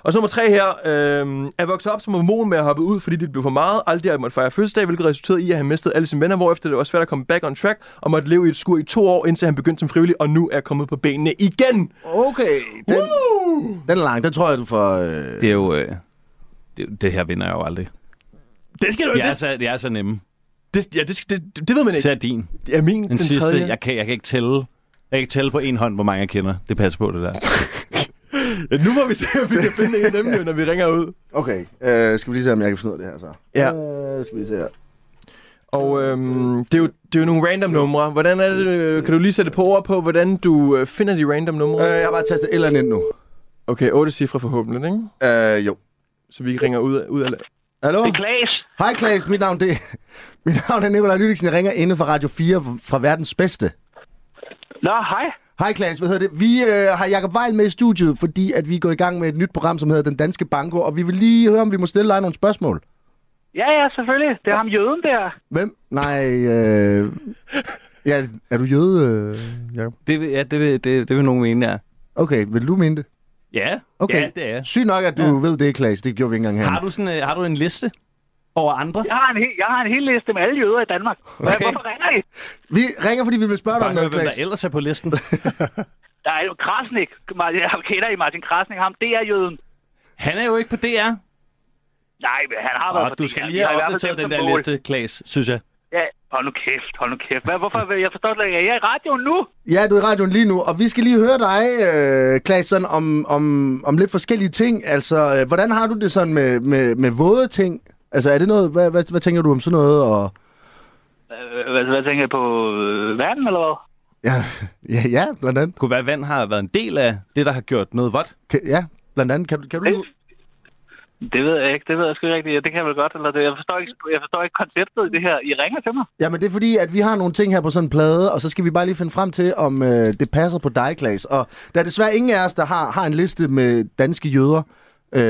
Speaker 4: Og så nummer tre her, øh, er vokset op som hormon med at hoppe ud, fordi det blev for meget. Aldrig at måtte fejre fødselsdag, hvilket resulterede i, at han mistede alle sine venner, hvorefter det var svært at komme back on track og måtte leve i et skur i to år, indtil han begyndte som frivillig, og nu er kommet på benene igen.
Speaker 2: Okay. Den,
Speaker 5: Uh!
Speaker 2: den er lang. Den tror jeg, du får... Øh...
Speaker 5: Det er jo... Øh, det, det her vinder jeg jo aldrig.
Speaker 4: Det skal du
Speaker 5: Jeg er
Speaker 4: Øh, det,
Speaker 5: så, jeg er så nemme.
Speaker 4: det, ja, det, skal- det, det, ved man
Speaker 5: Så er
Speaker 4: ikke.
Speaker 5: din.
Speaker 4: Det er min, den,
Speaker 5: Den, sidste,
Speaker 4: tredje.
Speaker 5: jeg kan, jeg kan ikke tælle. Jeg kan ikke tælle på en hånd, hvor mange jeg kender. Det passer på, det der.
Speaker 4: Ja, nu må vi se, om vi kan finde en af dem, jo, når vi ringer ud.
Speaker 2: Okay. Øh, skal vi lige se, om jeg kan finde ud af det her så?
Speaker 4: Ja.
Speaker 2: Øh, skal vi se her.
Speaker 4: Og øhm, det, er jo, det er jo nogle random numre. Hvordan er det, øh, kan du lige sætte på ord på, hvordan du øh, finder de random numre?
Speaker 2: Øh, jeg har bare tastet et eller andet ind nu.
Speaker 4: Okay, otte cifre forhåbentlig, ikke?
Speaker 2: Øh, jo.
Speaker 4: Så vi ringer ud af... Ud af
Speaker 2: Hallo?
Speaker 1: Det er Klaas.
Speaker 2: Hej Klaas, mit navn, det, mit navn er Nikolaj Lydiksen. Jeg ringer inde fra Radio 4 fra verdens bedste.
Speaker 1: Nå, hej.
Speaker 2: Hej Klaas, hvad hedder det? Vi øh, har Jacob Weil med i studiet, fordi at vi er gået i gang med et nyt program, som hedder Den Danske Banko, og vi vil lige høre, om vi må stille dig nogle spørgsmål.
Speaker 1: Ja, ja, selvfølgelig. Det er ham jøden der.
Speaker 2: Hvem? Nej, øh... Ja, er du jøde, øh, Jacob?
Speaker 5: Det vil, ja, det vil, det, det vil nogen mene, ja.
Speaker 2: Okay, vil du mene det?
Speaker 5: Ja,
Speaker 2: Okay.
Speaker 5: ja, det er jeg.
Speaker 2: Sygt nok, at du ja. ved det, Klaas. Det gjorde vi ikke engang her.
Speaker 5: Har du, sådan, øh, har du en liste over andre?
Speaker 1: Jeg har en, hel, jeg har en hel liste med alle jøder i Danmark. Okay.
Speaker 5: Okay.
Speaker 1: Hvorfor ringer I?
Speaker 2: Vi ringer, fordi vi vil spørge dig om
Speaker 5: Bare hør,
Speaker 2: noget,
Speaker 5: hvem der
Speaker 2: Klaas.
Speaker 5: ellers er på listen.
Speaker 1: Der er jo Krasnik. Martin, jeg kender I Martin Krasnik? Ham, det er jøden.
Speaker 5: Han er jo ikke på DR.
Speaker 1: Nej, men han har
Speaker 5: Og
Speaker 1: været på
Speaker 5: Ah, du
Speaker 1: DR.
Speaker 5: skal
Speaker 1: Vi
Speaker 5: lige
Speaker 1: har i
Speaker 5: have
Speaker 1: hvert fald
Speaker 5: opdateret
Speaker 1: dem
Speaker 5: den
Speaker 1: som
Speaker 5: der
Speaker 1: mål.
Speaker 5: liste, Klaas, synes jeg.
Speaker 1: Ja, hold nu kæft, hold nu kæft. Hvad, hvorfor? Jeg forstår slet ikke, at jeg er i radioen nu.
Speaker 2: Ja, du er i radioen lige nu, og vi skal lige høre dig, øh, Klaas, sådan om, om, om lidt forskellige ting. Altså, øh, hvordan har du det sådan med, med, med våde ting? Altså, er det noget... Hvad, hvad, hvad tænker du om sådan noget? Og...
Speaker 1: Øh, Hvad, hvad tænker jeg på? øh, Verden, eller hvad?
Speaker 2: Ja, ja, ja, blandt andet.
Speaker 5: Det kunne være, at vand har været en del af det, der har gjort noget vådt.
Speaker 2: Kan, ja, blandt andet. Kan, du- kan du...
Speaker 1: Det ved jeg ikke. Det ved jeg sgu ikke rigtigt. Ja, det kan jeg vel godt. Eller det, jeg, forstår ikke, jeg forstår ikke konceptet i det her. I ringer til mig.
Speaker 2: Jamen, det er fordi, at vi har nogle ting her på sådan en plade, og så skal vi bare lige finde frem til, om øh, det passer på dig, Klaas. Og der er desværre ingen af os, der har, har en liste med danske jøder. Øh,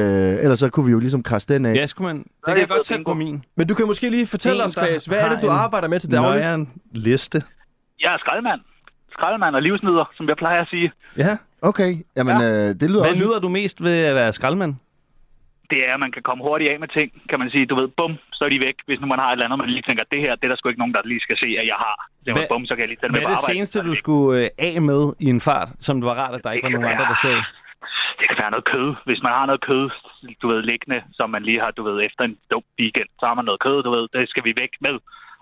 Speaker 2: ellers så kunne vi jo ligesom krasse den af.
Speaker 5: Ja, skulle man... Det
Speaker 1: er
Speaker 5: kan jeg
Speaker 1: det
Speaker 5: godt
Speaker 1: fået
Speaker 5: sætte
Speaker 1: bingo.
Speaker 5: på min.
Speaker 4: Men du kan måske lige fortælle
Speaker 5: En,
Speaker 4: os,
Speaker 5: der
Speaker 4: Klaas, hvad er
Speaker 5: har
Speaker 4: det, du
Speaker 5: en
Speaker 4: arbejder med til daglig?
Speaker 5: nøjeren liste.
Speaker 1: Jeg er skraldemand. Skraldemand og livsnyder, som jeg plejer at sige.
Speaker 5: Ja.
Speaker 2: Okay, jamen ja. øh, det lyder
Speaker 5: Hvad
Speaker 2: også...
Speaker 5: nyder du mest ved at være skraldemand?
Speaker 1: Det er, at man kan komme hurtigt af med ting, kan man sige. Du ved, bum, så er de væk. Hvis nu man har et eller andet, man lige tænker, det her, det er der sgu ikke nogen, der lige skal se, at jeg har. Så
Speaker 5: Hvad-
Speaker 1: Hva? bum, så kan jeg lige tage det
Speaker 5: Hvad er
Speaker 1: med på
Speaker 5: det
Speaker 1: arbejde.
Speaker 5: seneste, du skulle øh, af med i en fart, som det var rart, at der ikke var nogen andre, der så?
Speaker 1: Det kan være noget kød. Hvis man har noget kød, du ved, liggende, som man lige har, du ved, efter en dum weekend, så har man noget kød, du ved, det skal vi væk med.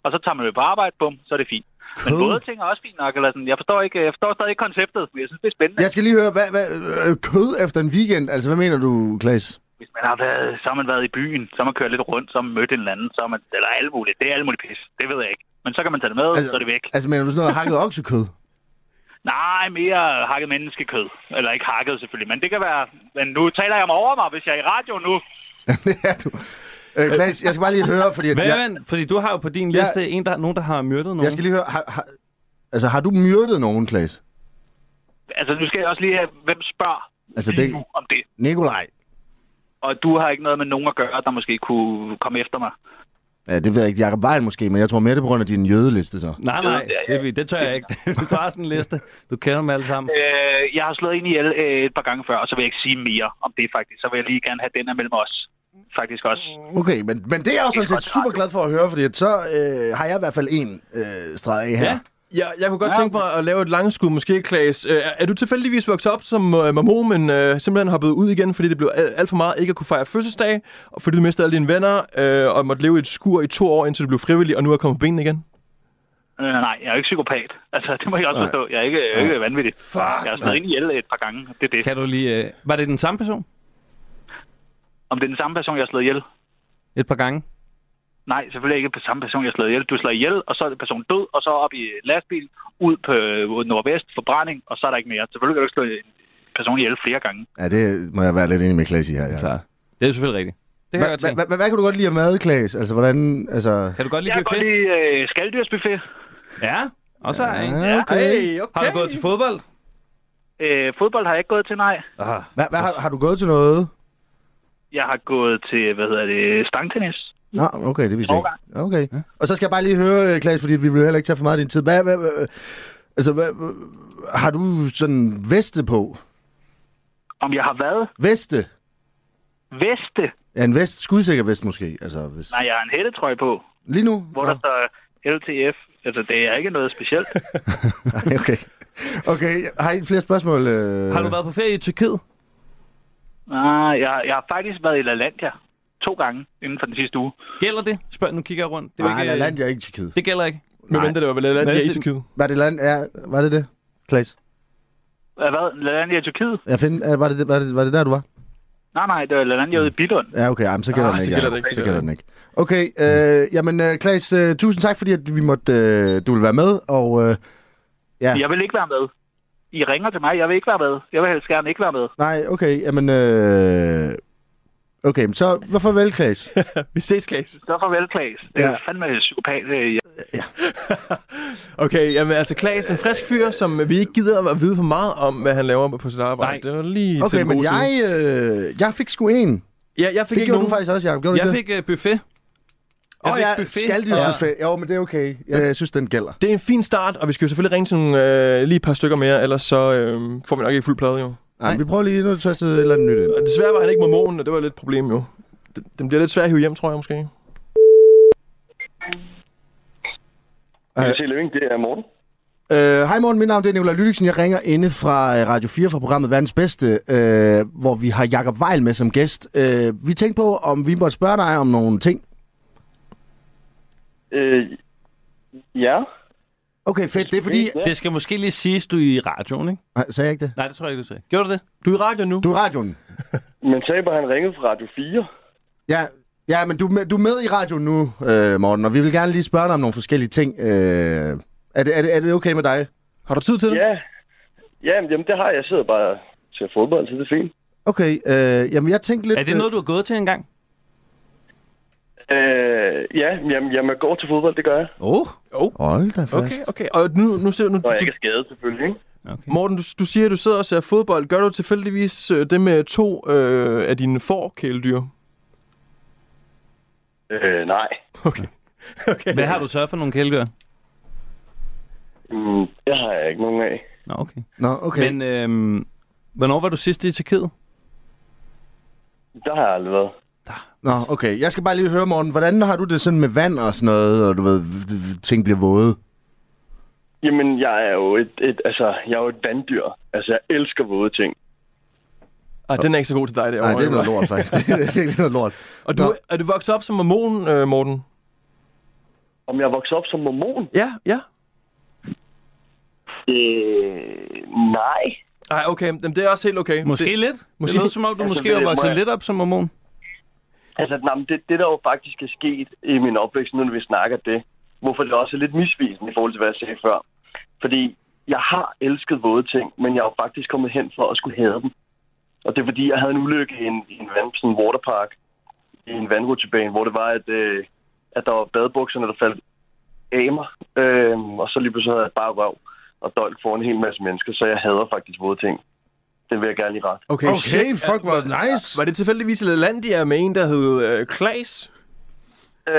Speaker 1: Og så tager man det på arbejde, bum, så er det fint. Men
Speaker 2: Kød?
Speaker 1: både ting er også fint nok, eller sådan. Jeg forstår, ikke, jeg forstår stadig ikke konceptet, men jeg synes, det er spændende.
Speaker 2: Jeg skal lige høre, hvad, hvad, øh, kød efter en weekend? Altså, hvad mener du, Klaas?
Speaker 1: Hvis man har været, så har man været i byen, så har man kørt lidt rundt, så har man mødt en eller anden, så har man, eller alt muligt. Det er alt muligt pis, det ved jeg ikke. Men så kan man tage det med, altså, så er det væk.
Speaker 2: Altså, mener du sådan noget hakket oksekød?
Speaker 1: Nej, mere hakket menneskekød. Eller ikke hakket selvfølgelig, men det kan være... Men nu taler jeg mig over mig, hvis jeg er i radio nu.
Speaker 2: det er du. Øh, Klaas, jeg skal bare lige høre, fordi... at
Speaker 5: Hvad,
Speaker 2: jeg,
Speaker 5: ja. Fordi du har jo på din liste en, der, nogen, der har myrdet nogen.
Speaker 2: jeg skal lige høre... Har, har, altså, har du myrdet nogen, Klaas?
Speaker 1: Altså, nu skal jeg også lige have, hvem spørger
Speaker 2: Altså,
Speaker 1: lige
Speaker 2: det-
Speaker 1: nu om det.
Speaker 2: Nikolaj?
Speaker 1: Og du har ikke noget med nogen at gøre, der måske kunne komme efter mig.
Speaker 2: Ja, det ved jeg ikke. Jakob Weil måske, men jeg tror mere, det er på grund af din jødeliste, så.
Speaker 5: Nej, nej, det, det tør jeg ikke. Hvis du har sådan en liste, du kender dem alle sammen.
Speaker 1: Øh, jeg har slået ind i øh, et par gange før, og så vil jeg ikke sige mere om det faktisk. Så vil jeg lige gerne have den her mellem os. Faktisk også.
Speaker 2: Okay, men, men det er jeg jo sådan set super glad for at høre, fordi at så øh, har jeg i hvert fald en øh, streg af her.
Speaker 5: Ja.
Speaker 4: Jeg, jeg kunne godt tænke mig at lave et langskud, måske, Klaas. Øh, Er, er du tilfældigvis vokset op som øh, mormon, men øh, simpelthen hoppet ud igen, fordi det blev al, alt for meget ikke at kunne fejre fødselsdag, og fordi du mistede alle dine venner, øh, og måtte leve i et skur i to år, indtil du blev frivillig, og nu er kommet på benene igen?
Speaker 1: Øh, nej, jeg er jo ikke psykopat. Altså, det må jeg også forstå. Jeg er ikke, jeg er ikke vanvittig. Fuck, jeg har slået ind i el et par gange. Det er det.
Speaker 5: Kan du lige... Øh, var det den samme person?
Speaker 1: Om det er den samme person, jeg har slået ihjel?
Speaker 5: Et par gange?
Speaker 1: Nej, selvfølgelig ikke på samme person, jeg slår ihjel. Du slår ihjel, og så er det person død, og så op i lastbil, ud på øh, nordvest, forbrænding, og så er der ikke mere. Selvfølgelig kan du ikke slå en person ihjel flere gange.
Speaker 2: ja, det må jeg være lidt enig med Klaas i her. Ja.
Speaker 5: Klart. Det er jo selvfølgelig rigtigt. Det kan jeg
Speaker 2: Hvad
Speaker 5: godt
Speaker 2: hva,
Speaker 5: tænke.
Speaker 2: hva, hvad kan du godt lide at mad, Klaas? Altså, hvordan... Altså...
Speaker 5: Kan du godt
Speaker 1: Jeg
Speaker 5: lide
Speaker 1: kan
Speaker 5: buffet?
Speaker 1: godt lide øh, skalddyrsbuffet.
Speaker 5: Ja, og så ja.
Speaker 2: Ja, okay.
Speaker 4: Ej, okay.
Speaker 5: Har du gået til fodbold?
Speaker 1: Øh, fodbold har jeg ikke gået til, nej.
Speaker 5: Ah,
Speaker 2: Hva, hva, har, har du gået til noget?
Speaker 1: Jeg har gået til, hvad hedder det, stangtennis.
Speaker 2: Nå, okay, det viser jeg
Speaker 1: Overgang.
Speaker 2: ikke. Okay. Og så skal jeg bare lige høre, øh, Klaas, fordi vi vil jo heller ikke tage for meget af din tid. Hvad, hvad, hvad, altså, hvad, hvad, har du sådan veste på?
Speaker 1: Om jeg har været
Speaker 2: Veste?
Speaker 1: veste?
Speaker 2: Ja, en vest. Skudsikker vest måske. Altså, hvis...
Speaker 1: Nej, jeg har en hættetrøje på,
Speaker 2: Lige nu?
Speaker 1: hvor der står LTF. Altså, det er ikke noget specielt.
Speaker 2: Nej, okay. Okay, har I flere spørgsmål? Øh...
Speaker 5: har du været på ferie i Tyrkiet?
Speaker 1: nej, jeg, jeg har faktisk været i LaLandia to gange inden for den sidste uge.
Speaker 5: Gælder det? Spørg, nu kigger jeg rundt. Det, er jo
Speaker 2: Nej,
Speaker 5: ikke,
Speaker 2: der
Speaker 5: øh,
Speaker 2: land jeg ikke i Tyrkiet.
Speaker 5: det gælder ikke.
Speaker 4: Men venter, det var vel et
Speaker 5: Hvad
Speaker 4: andet
Speaker 5: er
Speaker 4: i
Speaker 5: det?
Speaker 4: Tyrkiet.
Speaker 2: Var det land? Ja, var det det? Klaas?
Speaker 1: Hvad? LaLandia i Tyrkiet?
Speaker 2: Jeg find, er- var, det, var, det, var det der, du var?
Speaker 1: Nej, nej, det var LaLandia ude i Billund.
Speaker 2: Ja, okay, jamen, så gælder
Speaker 4: Ah,
Speaker 2: den
Speaker 4: så
Speaker 2: ikke.
Speaker 4: gælder
Speaker 2: ja.
Speaker 4: det ikke, så
Speaker 2: Så
Speaker 4: gælder
Speaker 2: gælder den ikke. Okay, øh, jamen øh, Klaas, øh, tusind tak, fordi at vi måtte, øh, du ville være med, og øh, Ja.
Speaker 1: Jeg vil ikke være med. I ringer til mig, jeg vil ikke være med. Jeg vil helst gerne ikke være med.
Speaker 2: nej, okay, jamen, øh, okay, men så hvorfor vel, Klaas?
Speaker 4: Vi ses, Klaas.
Speaker 1: Så farvel, Klaas. Det er
Speaker 2: Ja.
Speaker 1: ja. fandme psykopat. øh, jeg-
Speaker 4: Okay, jamen altså Klaas er en frisk fyr, som vi ikke gider at vide for meget om, hvad han laver på sit arbejde.
Speaker 5: Nej.
Speaker 4: Det var lige til
Speaker 2: Okay,
Speaker 4: den
Speaker 2: men
Speaker 4: gode side.
Speaker 2: jeg, øh, jeg fik sgu en.
Speaker 4: Ja, jeg fik
Speaker 2: Det
Speaker 4: ikke
Speaker 2: gjorde
Speaker 4: nogen...
Speaker 2: du faktisk også, Jacob, gjorde du
Speaker 5: Jeg
Speaker 2: ikke det?
Speaker 5: fik øh, buffet,
Speaker 2: Åh oh,
Speaker 5: fik
Speaker 2: ja,
Speaker 5: buffet.
Speaker 2: skaldyrsbuffet. Jo, men det er okay. Jeg, jeg synes, den gælder.
Speaker 4: Det er en fin start, og vi skal jo selvfølgelig ringe til nogle, øh, lige et par stykker mere, ellers så øh, får vi nok ikke fuld plade, jo.
Speaker 2: Nej, men vi prøver lige noget tørstet et eller andet nyt ind.
Speaker 4: Og desværre var han ikke mormonen, og det var lidt et problem, jo. Den- Den bliver lidt svær at hive hjem, tror jeg måske.
Speaker 2: Øh.
Speaker 6: Se Løving, det er Morten.
Speaker 2: Øh, Hej Morten, mit navn det er Nicolai Lydiksen. Jeg ringer inde fra øh, Radio 4 fra programmet Verdens Bedste, øh, hvor vi har Jakob Weil med som gæst. Øh, vi tænkte på, om vi måtte spørge dig om nogle ting.
Speaker 6: Øh, ja,
Speaker 2: Okay, fedt. Det er fordi...
Speaker 6: Ja.
Speaker 5: Det skal måske lige siges, du er i radioen, ikke?
Speaker 2: Nej, sagde jeg ikke det?
Speaker 5: Nej, det tror jeg ikke, du sagde. Gjorde du det?
Speaker 4: Du er i radio nu.
Speaker 2: Du er i radioen.
Speaker 6: men taber han ringede fra Radio 4.
Speaker 2: Ja, ja men du, er med- du er med i radioen nu, øh, Morten, og vi vil gerne lige spørge dig om nogle forskellige ting. Øh, er, det, er, det, er det okay med dig?
Speaker 4: Har du tid til det?
Speaker 6: Ja, ja men, jamen, det har jeg. Jeg sidder bare til fodbold, så det er fint.
Speaker 2: Okay, øh, jamen jeg tænkte lidt...
Speaker 5: Er det noget, du har gået til engang?
Speaker 6: Øh, ja, jamen, jamen, jeg går til fodbold, det gør jeg.
Speaker 5: Åh. Oh.
Speaker 2: øh, Hold da fast.
Speaker 4: Okay, okay. Og nu, nu ser nu,
Speaker 6: Når
Speaker 4: du,
Speaker 6: jeg ikke er skadet, selvfølgelig. Ikke?
Speaker 4: Morten, du, du siger, at du sidder og ser fodbold. Gør du tilfældigvis øh, det med to øh, af dine forkæledyr?
Speaker 6: Øh, nej.
Speaker 4: Okay. okay.
Speaker 5: Hvad har du så for nogle kæledyr?
Speaker 6: Mm, det har jeg ikke nogen af.
Speaker 5: Nå, okay.
Speaker 2: Nå, okay.
Speaker 5: Men øhm, hvornår var du sidst i Tjekkiet?
Speaker 6: Der har jeg aldrig været.
Speaker 2: Nå, okay. Jeg skal bare lige høre, Morten, hvordan har du det sådan med vand og sådan noget, og du ved, ting bliver våde?
Speaker 6: Jamen, jeg er jo et, et, altså, jeg er jo et vanddyr. Altså, jeg elsker våde ting.
Speaker 4: Ah, den er ikke så god til dig derovre.
Speaker 2: Nej, det er noget
Speaker 4: Nicolaj.
Speaker 2: lort, faktisk. Det er virkelig noget lort.
Speaker 4: Og du, er du vokset op som mormon, øh, Morten?
Speaker 6: Om jeg er vokset op som mormon?
Speaker 4: Ja, ja.
Speaker 6: Øh, nej.
Speaker 4: Nej, okay. Jamen, det er også helt okay.
Speaker 5: Måske
Speaker 4: det,
Speaker 5: lidt?
Speaker 4: måske-
Speaker 5: Måske. Det lød som om, du
Speaker 6: Altså,
Speaker 5: måske
Speaker 6: det
Speaker 5: var
Speaker 6: må
Speaker 5: vokset
Speaker 6: jeg-
Speaker 5: lidt op som mormon.
Speaker 6: Altså, nej, men det, det, der jo faktisk er sket i min opvækst, nu når vi snakker det, hvorfor det også er lidt misvisende i forhold til, hvad jeg sagde før. Fordi jeg har elsket våde ting, men jeg er jo faktisk kommet hen for at skulle have dem. Og det er fordi, jeg havde en ulykke i en, i en vand, sådan en waterpark, i en vandrutsjebane, hvor det var, at, øh, at der var badebukserne, der faldt af mig. Øh, og så lige pludselig havde jeg bare røv og dolk foran en hel masse mennesker, så jeg hader faktisk våde ting. Det vil jeg gerne lige ret.
Speaker 4: Okay,
Speaker 2: Okay,
Speaker 4: shit.
Speaker 2: fuck, hvor nice.
Speaker 4: Var det tilfældigvis i Lalandia med en, der hed øh, Klaas?
Speaker 6: Øh,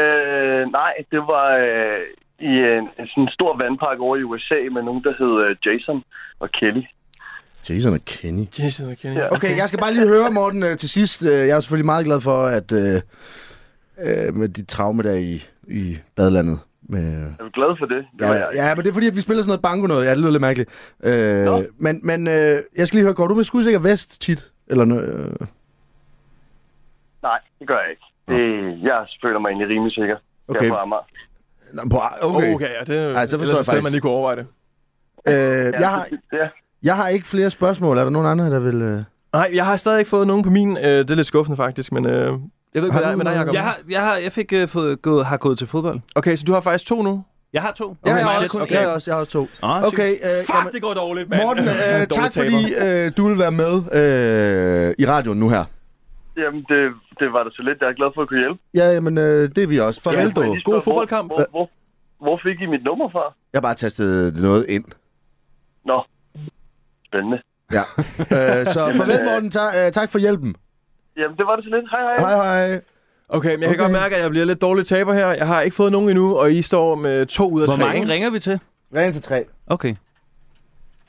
Speaker 6: nej, det var øh, i en, en sådan stor vandpark over i USA med nogen, der hed øh, Jason og Kelly.
Speaker 2: Jason og Kenny.
Speaker 4: Jason og Kenny.
Speaker 6: Ja.
Speaker 2: Okay, jeg skal bare lige høre, Morten, øh, til sidst. Øh, Jeg er selvfølgelig meget glad for, at øh, øh, med dit traume der i, i badelandet. Med,
Speaker 6: Er du glad for det?
Speaker 2: ja, ja, ja, men det er fordi, at vi spiller sådan noget banko noget. Ja, det lyder lidt mærkeligt. Øh, men men øh, jeg skal lige høre, går du med skudsikker vest tit? Eller, noget, øh,
Speaker 6: Nej, det gør jeg ikke. Det, jeg føler mig egentlig rimelig sikker.
Speaker 2: Okay.
Speaker 6: Okay. Jeg mig.
Speaker 2: Nå, på,
Speaker 4: Okay, okay ja, det er
Speaker 2: Ej, så forstår
Speaker 4: ellers
Speaker 2: jeg
Speaker 4: et sted,
Speaker 2: faktisk.
Speaker 4: man lige kunne overveje det.
Speaker 2: Øh, jeg, har,
Speaker 6: Ja.
Speaker 2: jeg har ikke flere spørgsmål. Er der nogen andre, der vil... Øh...
Speaker 4: Nej, jeg har stadig ikke fået nogen på min. Øh, det er lidt skuffende faktisk, men øh, jeg ved
Speaker 2: Har
Speaker 4: ikke, hvad der er
Speaker 2: du
Speaker 4: med dig,
Speaker 2: noget?
Speaker 4: Jacob.
Speaker 5: Jeg har, jeg har, jeg fik øh, fået, gået, har gået til fodbold.
Speaker 4: Okay, så du har faktisk to nu?
Speaker 5: Jeg har to.
Speaker 2: jeg, har
Speaker 5: shit,
Speaker 2: også,
Speaker 5: okay.
Speaker 2: jeg, har også, jeg har også to.
Speaker 5: Ah,
Speaker 2: Okay, øh,
Speaker 4: Fuck, det går dårligt, mand.
Speaker 2: Morten, øh,
Speaker 4: Dårlig
Speaker 2: tak
Speaker 4: taber.
Speaker 2: fordi øh, du vil være med øh, i radioen nu her.
Speaker 6: Jamen, det, det var da så lidt. Jeg er glad for at kunne hjælpe.
Speaker 2: Ja, men øh, det er vi også. Farvel,
Speaker 6: Må jeg
Speaker 2: du.
Speaker 6: lige spørge, hvor-
Speaker 4: fodboldkamp.
Speaker 6: Hvor, hvor, hvor fik I mit nummer fra?
Speaker 2: Jeg har bare tastet noget ind.
Speaker 6: Nå, spændende.
Speaker 2: Ja. øh, så farvel, Morten. Ta- øh, tak for hjælpen.
Speaker 6: Jamen, det var det så lidt. Hej, hej.
Speaker 2: Hej, hej.
Speaker 4: Okay, men jeg okay.
Speaker 2: Okay.
Speaker 4: kan godt mærke, at jeg bliver lidt dårlig taber her. Jeg har ikke fået nogen endnu, og I står med to ud af
Speaker 5: Hvor
Speaker 4: tre.
Speaker 5: mange
Speaker 4: ikke?
Speaker 5: ringer vi til?
Speaker 2: Ren til tre.
Speaker 5: Okay.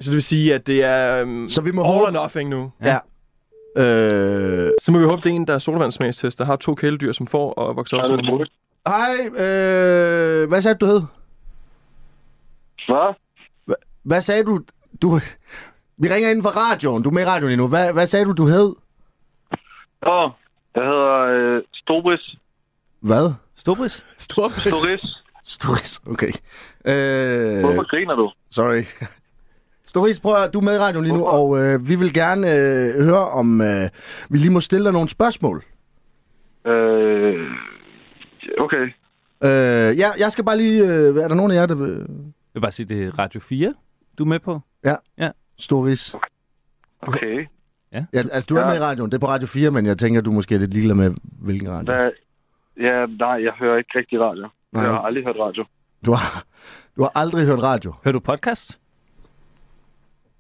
Speaker 4: Så det vil sige, at det er um,
Speaker 2: Så vi må
Speaker 4: all
Speaker 2: håbe-
Speaker 4: or nothing nu.
Speaker 2: Ja. Øh,
Speaker 4: Så må vi håbe, det er en, der er sodavandssmagstest, der har to kæledyr, som får og vokser op
Speaker 6: Hej,
Speaker 4: som
Speaker 6: det er
Speaker 4: en
Speaker 6: Troels.
Speaker 2: hej. Øh, hvad sagde du, du hed?
Speaker 6: Hvad?
Speaker 2: Hvad sagde du? Du... Vi ringer ind fra radioen. Du er med i radioen endnu. Hvad, hvad sagde du, du hed?
Speaker 6: Åh, jeg hedder øh, Stobris.
Speaker 2: Hvad?
Speaker 5: Stobris?
Speaker 4: Stor
Speaker 6: Storis.
Speaker 2: Øh. Storis. Okay. Øh,
Speaker 6: Hvorfor griner du?
Speaker 2: sorry. Storis, prøv at høre, du er med i radioen lige nu, og øh, vi vil gerne øh, høre, om øh, vi lige må stille dig nogle spørgsmål.
Speaker 6: Øh, okay.
Speaker 2: Øh, ja, jeg skal bare lige... Øh, er der nogen af jer, der... vil-
Speaker 5: Jeg vil bare sige, det er Radio 4, du er med på.
Speaker 2: Storis.
Speaker 6: Okay.
Speaker 2: Ja, altså, du er
Speaker 6: Ja.
Speaker 2: med i radioen. Det er på Radio 4, men jeg tænker, du måske er lidt ligeglad med, hvilken radio.
Speaker 6: Hvad? Ja, nej, jeg hører ikke rigtig radio.
Speaker 2: Nej.
Speaker 6: Jeg har aldrig hørt radio.
Speaker 2: Du har, du har aldrig hørt radio.
Speaker 5: Hører du podcast?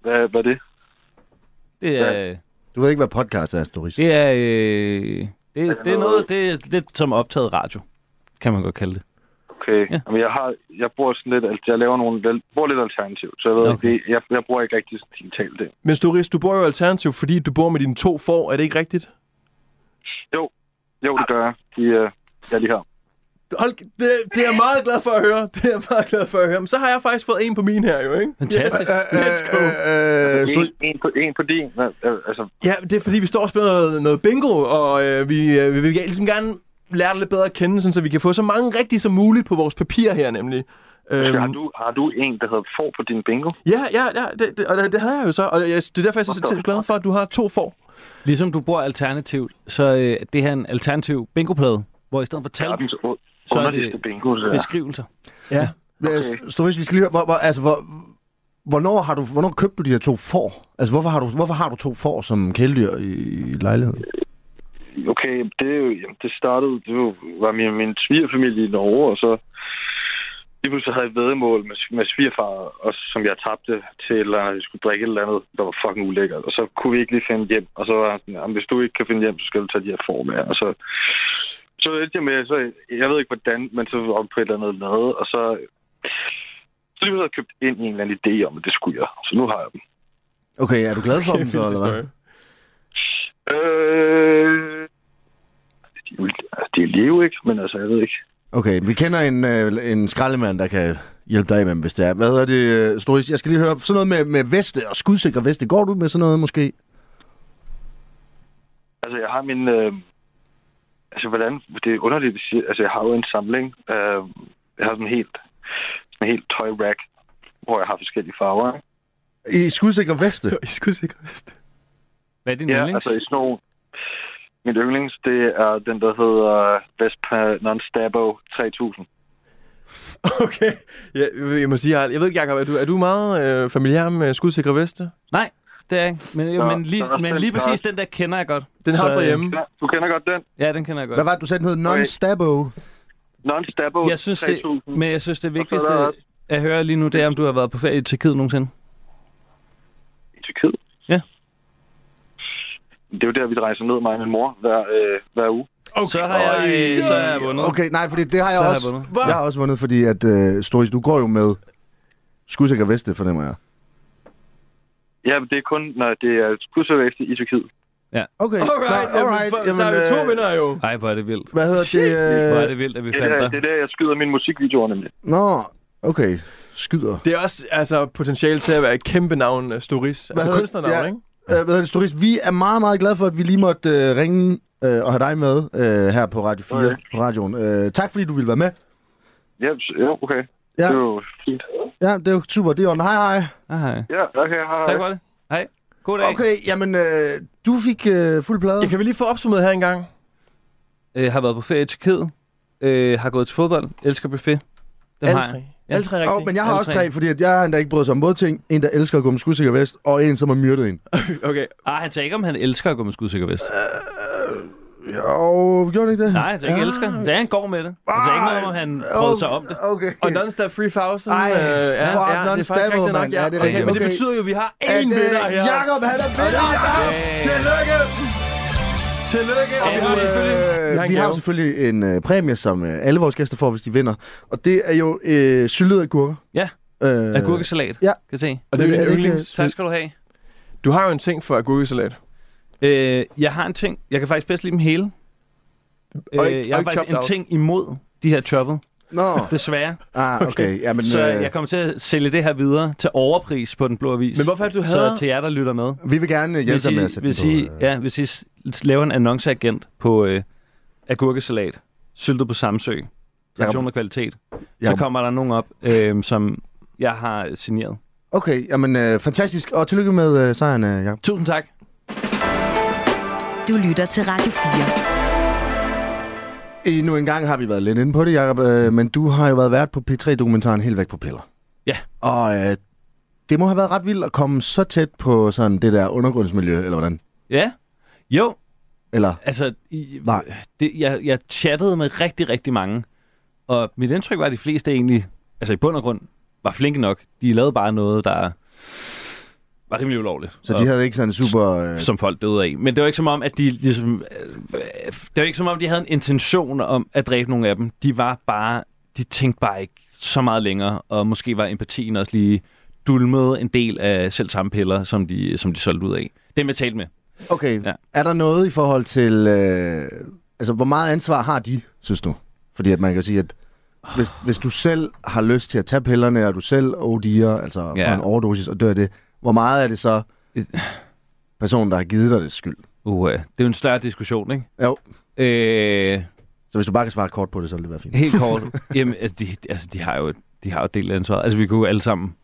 Speaker 6: Hvad, hvad er det?
Speaker 5: Det er,
Speaker 2: Du ved ikke, hvad podcast er, Storis.
Speaker 5: det er, øh, det, det er noget, det, er lidt som optaget radio. kan man godt kalde det.
Speaker 6: Okay.
Speaker 5: Ja.
Speaker 6: Ja. Jamen, jeg, har, jeg bruger sådan lidt, alt- jeg laver nogle, jeg bruger lidt alternativt, så jeg ved
Speaker 5: Okay.
Speaker 6: okay. ikke, det- jeg, jeg bruger ikke rigtig sådan digitalt det.
Speaker 4: Men Storis, du bor jo alternativt, fordi du bor med dine to får. Er det ikke rigtigt?
Speaker 6: Jo, det gør jeg. De, øh, ja, de her.
Speaker 4: Hold, det, det er jeg meget glad for at høre. Det er jeg meget glad for at høre. Men så har jeg faktisk fået en på min her, jo, ikke?
Speaker 5: Fantastisk.
Speaker 4: Let's go.
Speaker 2: Øh, øh,
Speaker 6: En, en, på, en på din. Hvad- øh, Altså,
Speaker 4: Ja, det er fordi, vi står og spiller noget, noget bingo, og øh, vi, øh, vi vil ligesom gerne lære dig lidt bedre at kende, sådan, så vi kan få så mange rigtige som muligt på vores papir her, nemlig. Øhm,
Speaker 6: har, du, har du en, der hedder får på din bingo?
Speaker 4: ja, ja, ja, det, det, og det, det havde jeg jo så, og jeg, det er derfor, jeg er så sindssygt glad for, at du har to får.
Speaker 5: Ligesom du bor alternativt, så øh, det her er en alternativ bingoplade, hvor i stedet for tal,
Speaker 6: Verdens u-
Speaker 5: så er
Speaker 6: underligste
Speaker 5: det
Speaker 6: bingo, så jeg.
Speaker 5: beskrivelser.
Speaker 4: Ja.
Speaker 2: øh, Storis, vi skal lige høre, hvor, hvor, altså, hvor, hvornår, har du, hvornår købte du de her to får? Altså, hvorfor har du, hvorfor har du to får som kæledyr i, i lejligheden?
Speaker 6: Okay, det, er jo, jamen, det startede, det var, var min, min svigerfamilie i Norge, og så lige pludselig havde jeg et væddemål med, med svigerfar, og, som jeg tabte til, eller jeg skulle drikke et eller andet, der var fucking ulækkert. Og så kunne vi ikke lige finde hjem, og så var jeg sådan, "Jamen, hvis du ikke kan finde hjem, så skal du tage de her form med. Og så, så endte jeg med, så, jeg ved ikke hvordan, men så var vi på et eller andet lade, og så, så lige pludselig havde jeg købt ind i en eller anden idé om, at det skulle jeg. Så nu har jeg dem.
Speaker 2: Okay, er du glad for dem,
Speaker 4: Kæft,
Speaker 2: så,
Speaker 4: vild
Speaker 2: eller hvad?
Speaker 4: historie.
Speaker 6: Øh, de, er jo- altså, de er live, ikke? Men altså, jeg ved ikke.
Speaker 2: Okay, vi kender en, øh, en skraldemand, der kan hjælpe dig med dem, hvis det er. Hvad hedder det, øh, Storis? Jeg skal lige høre, sådan noget med, med veste og skudsikre veste. Går du med sådan noget, måske?
Speaker 6: Altså, jeg har min... Øh, altså, hvordan... Det er underligt, at sige- altså, jeg har jo en samling. Øh, jeg har sådan en helt, sådan en helt tøj-rack, hvor jeg har forskellige farver. ikke?
Speaker 2: I skudsikre veste?
Speaker 4: I skulle sikre vidste.
Speaker 5: Hvad er din
Speaker 6: Ja,
Speaker 5: yndlings?
Speaker 6: altså i sådan nogle... Min yndlings, det er den, der hedder Vespa Non-Stabbo 3000.
Speaker 4: Okay. Ja, jeg må sige, jeg, jeg ved ikke, Jacob, er du, er du meget øh, familiær med skudsikre veste?
Speaker 5: Nej, det er jeg ikke. Men, jo,
Speaker 6: Nå,
Speaker 5: men, lige,
Speaker 6: der er
Speaker 5: men
Speaker 6: den
Speaker 5: lige præcis
Speaker 6: pakke.
Speaker 5: den der kender jeg godt.
Speaker 4: Den har
Speaker 5: Så,
Speaker 4: du
Speaker 5: øh,
Speaker 4: derhjemme.
Speaker 6: Ja, du kender godt den.
Speaker 5: Ja, den kender jeg godt.
Speaker 2: Hvad var det, du sagde, den hed? Non-stabbo?
Speaker 6: Non-Stabbo
Speaker 5: Jeg synes, det,
Speaker 6: 3000.
Speaker 5: men jeg synes, det
Speaker 6: er
Speaker 5: vigtigste
Speaker 6: der-
Speaker 5: at høre lige nu, det er, om du har været på ferie i Tyrkiet nogensinde.
Speaker 6: i Tyrkiet.
Speaker 5: Ja.
Speaker 6: Det er jo der, vi rejser ned, mig og min mor, hver, øh, hver uge.
Speaker 4: Okay.
Speaker 5: Så har jeg, øh, så har jeg vundet.
Speaker 2: Okay, nej, fordi det har jeg
Speaker 5: Så har jeg
Speaker 2: også.
Speaker 5: vundet.
Speaker 2: jeg, jeg har også vundet, fordi at, øh, Storis, du går jo med skudsikre veste, fornemmer jeg.
Speaker 6: Ja, men det er kun, når det er skudservæste i Tyrkiet.
Speaker 2: Okay,
Speaker 4: Alright,
Speaker 2: nå,
Speaker 4: alright, jamen, så er vi to
Speaker 2: øh,
Speaker 4: vinder jo.
Speaker 5: Ej, hvor er det vildt.
Speaker 2: Hvad hedder det?
Speaker 5: Hvor er
Speaker 2: Øh,
Speaker 5: det vildt, at vi
Speaker 6: Det
Speaker 5: fandt
Speaker 6: er, der,
Speaker 5: dig.
Speaker 6: det er der, jeg skyder mine musikvideoer nemlig.
Speaker 2: nå, okay. Skyder.
Speaker 4: Det er også altså, potentiale til at være et kæmpe navn, øh, Storis.
Speaker 2: Hvad
Speaker 4: Altså
Speaker 2: hedder-
Speaker 4: kunstnernavn,
Speaker 2: ja.
Speaker 4: ikke?
Speaker 2: Øh, hvad hedder det, Storis? Vi er meget, meget glade for, at vi lige måtte øh, ringe øh, og have dig med øh, her på Radio 4,
Speaker 6: Okay.
Speaker 2: på radioen. Øh, tak, fordi du ville være med.
Speaker 6: Ja, s- ja okay.
Speaker 2: Ja.
Speaker 6: Ja. Det er jo fint.
Speaker 2: Ja, det er jo super. Det er on. Hej, hej.
Speaker 5: Ah, hej.
Speaker 6: Ja, okay, hej.
Speaker 5: Tak for det. Hej. God dag.
Speaker 2: Okay, jamen, øh, du fik øh, fuld plade.
Speaker 4: Ja, kan vi lige få opsummeret her engang?
Speaker 5: Øh, har været på ferie i Tyrkiet. Øh, har gået til fodbold. Elsker buffet. Dem
Speaker 4: Alle
Speaker 5: har
Speaker 4: tre.
Speaker 5: jeg.
Speaker 4: Alle tre rigtigt.
Speaker 2: Og, men jeg har
Speaker 5: Alle
Speaker 2: også
Speaker 5: tre.
Speaker 4: Okay.
Speaker 5: Ah, han sagde ikke, om han elsker at gå med skudsikker vest.
Speaker 4: Øh,
Speaker 2: Jo, gjorde den ikke det?
Speaker 5: Nej, han
Speaker 4: øh,
Speaker 5: sagde ikke elsker. Det er, han går med det. Han sagde ikke noget om, at han prøvede sig om det.
Speaker 2: Okay.
Speaker 4: Og Nonstop
Speaker 2: Ej,
Speaker 4: 3000. øh, ja,
Speaker 2: fuck,
Speaker 4: ja, det er faktisk
Speaker 2: Non-Stop,
Speaker 4: rigtigt
Speaker 2: mand.
Speaker 4: nok,
Speaker 2: Ja, det er
Speaker 4: okay,
Speaker 2: rigtigt.
Speaker 4: Men det
Speaker 2: Okay.
Speaker 4: betyder jo, at vi har
Speaker 2: At,
Speaker 4: én vinder
Speaker 2: øh,
Speaker 4: her.
Speaker 2: Jakob, han er vinder!
Speaker 4: Tillykke! Tillykke! Og vi har selvfølgelig...
Speaker 2: Øh,
Speaker 4: Vi har en
Speaker 2: vi har jo
Speaker 4: gave.
Speaker 2: selvfølgelig en øh, præmie, som øh, alle vores gæster får, hvis de vinder. Og det er jo øh, syltede agurker.
Speaker 5: Ja.
Speaker 2: Øh,
Speaker 5: Agurkesalat.
Speaker 2: ja.
Speaker 5: Kan se.
Speaker 4: Og det er
Speaker 2: Er
Speaker 4: min
Speaker 2: det ikke-
Speaker 4: yndlings...
Speaker 5: Tak skal du have.
Speaker 4: Du har jo en ting for agurkesalat.
Speaker 5: Øh, jeg har en ting. Jeg kan faktisk bedst lide dem hele.
Speaker 4: Og ikke-
Speaker 5: øh, jeg
Speaker 4: og
Speaker 5: har
Speaker 4: ikke
Speaker 5: faktisk en
Speaker 4: chopped out.
Speaker 5: ting imod de her choppet.
Speaker 2: Nå,
Speaker 5: Desværre.
Speaker 2: ah, okay. Ja, men,
Speaker 5: Så
Speaker 2: øh,
Speaker 5: jeg kommer til at sælge det her videre til overpris på Den Blå Avis.
Speaker 4: Men hvorfor er det, du hader-
Speaker 5: Så til jer, der lytter med.
Speaker 2: vi vil gerne øh, hjælpe
Speaker 5: Hvis
Speaker 2: dig
Speaker 5: I,
Speaker 2: med at sætte
Speaker 5: hvis
Speaker 2: den
Speaker 5: I,
Speaker 2: på. øh,
Speaker 5: ja, hvis I s- laver en annonceagent på øh, agurkesalat, syltet på Samsø,
Speaker 2: øh,
Speaker 5: tradition og kvalitet, så
Speaker 2: Jakob.
Speaker 5: kommer der nogen op, øh, som jeg har signeret.
Speaker 2: Okay, jamen øh, fantastisk. Og tillykke med øh, sejren, øh, Jacob.
Speaker 5: Tusind tak.
Speaker 3: Du lytter til Radio 4.
Speaker 2: Endnu en gang har vi været lidt inde på det, Jacob. Øh, men du har jo været vært på P3-dokumentaren Helt væk på piller.
Speaker 5: Ja.
Speaker 2: Og øh, det må have været ret vildt at komme så tæt på sådan det der undergrundsmiljø, eller hvordan?
Speaker 5: Ja, jo,
Speaker 2: Eller,
Speaker 5: altså, i,
Speaker 2: nej.
Speaker 5: det, jeg, jeg chattede med rigtig, rigtig mange, og mit indtryk var, at de fleste egentlig, altså i bund og grund, var flinke nok. De lavede bare noget, der var rimelig ulovligt.
Speaker 2: Så
Speaker 5: Og-
Speaker 2: de havde ikke sådan en super... Øh,
Speaker 5: som folk døde af. Men det var ikke som om, at de ligesom... øh, Det var ikke som om, de havde en intention om at dræbe nogle af dem. De var bare... De tænkte bare ikke så meget længere, og måske var empatien også lige dulmet en del af selv samme piller, som de, som de solgte ud af. Dem jeg talte med.
Speaker 2: okay,
Speaker 5: Ja.
Speaker 2: er der noget i forhold til... Øh, altså, hvor meget ansvar har de, synes du? Fordi at man kan sige, at hvis, hvis du selv har lyst til at tage pillerne, og du selv OD'er, altså ja.
Speaker 5: Ja.
Speaker 2: får en overdosis og dør af det, hvor meget er det så personen, der har givet dig det skyld?
Speaker 5: Uh, det er jo en større diskussion, ikke?
Speaker 2: Jo,
Speaker 5: Øh,
Speaker 2: så hvis du bare kan svare kort på det, så vil det være fint.
Speaker 5: helt kort. Jamen, altså, de, altså, de har jo et- de har jo et del af ansvaret. Altså, vi kunne jo alle sammen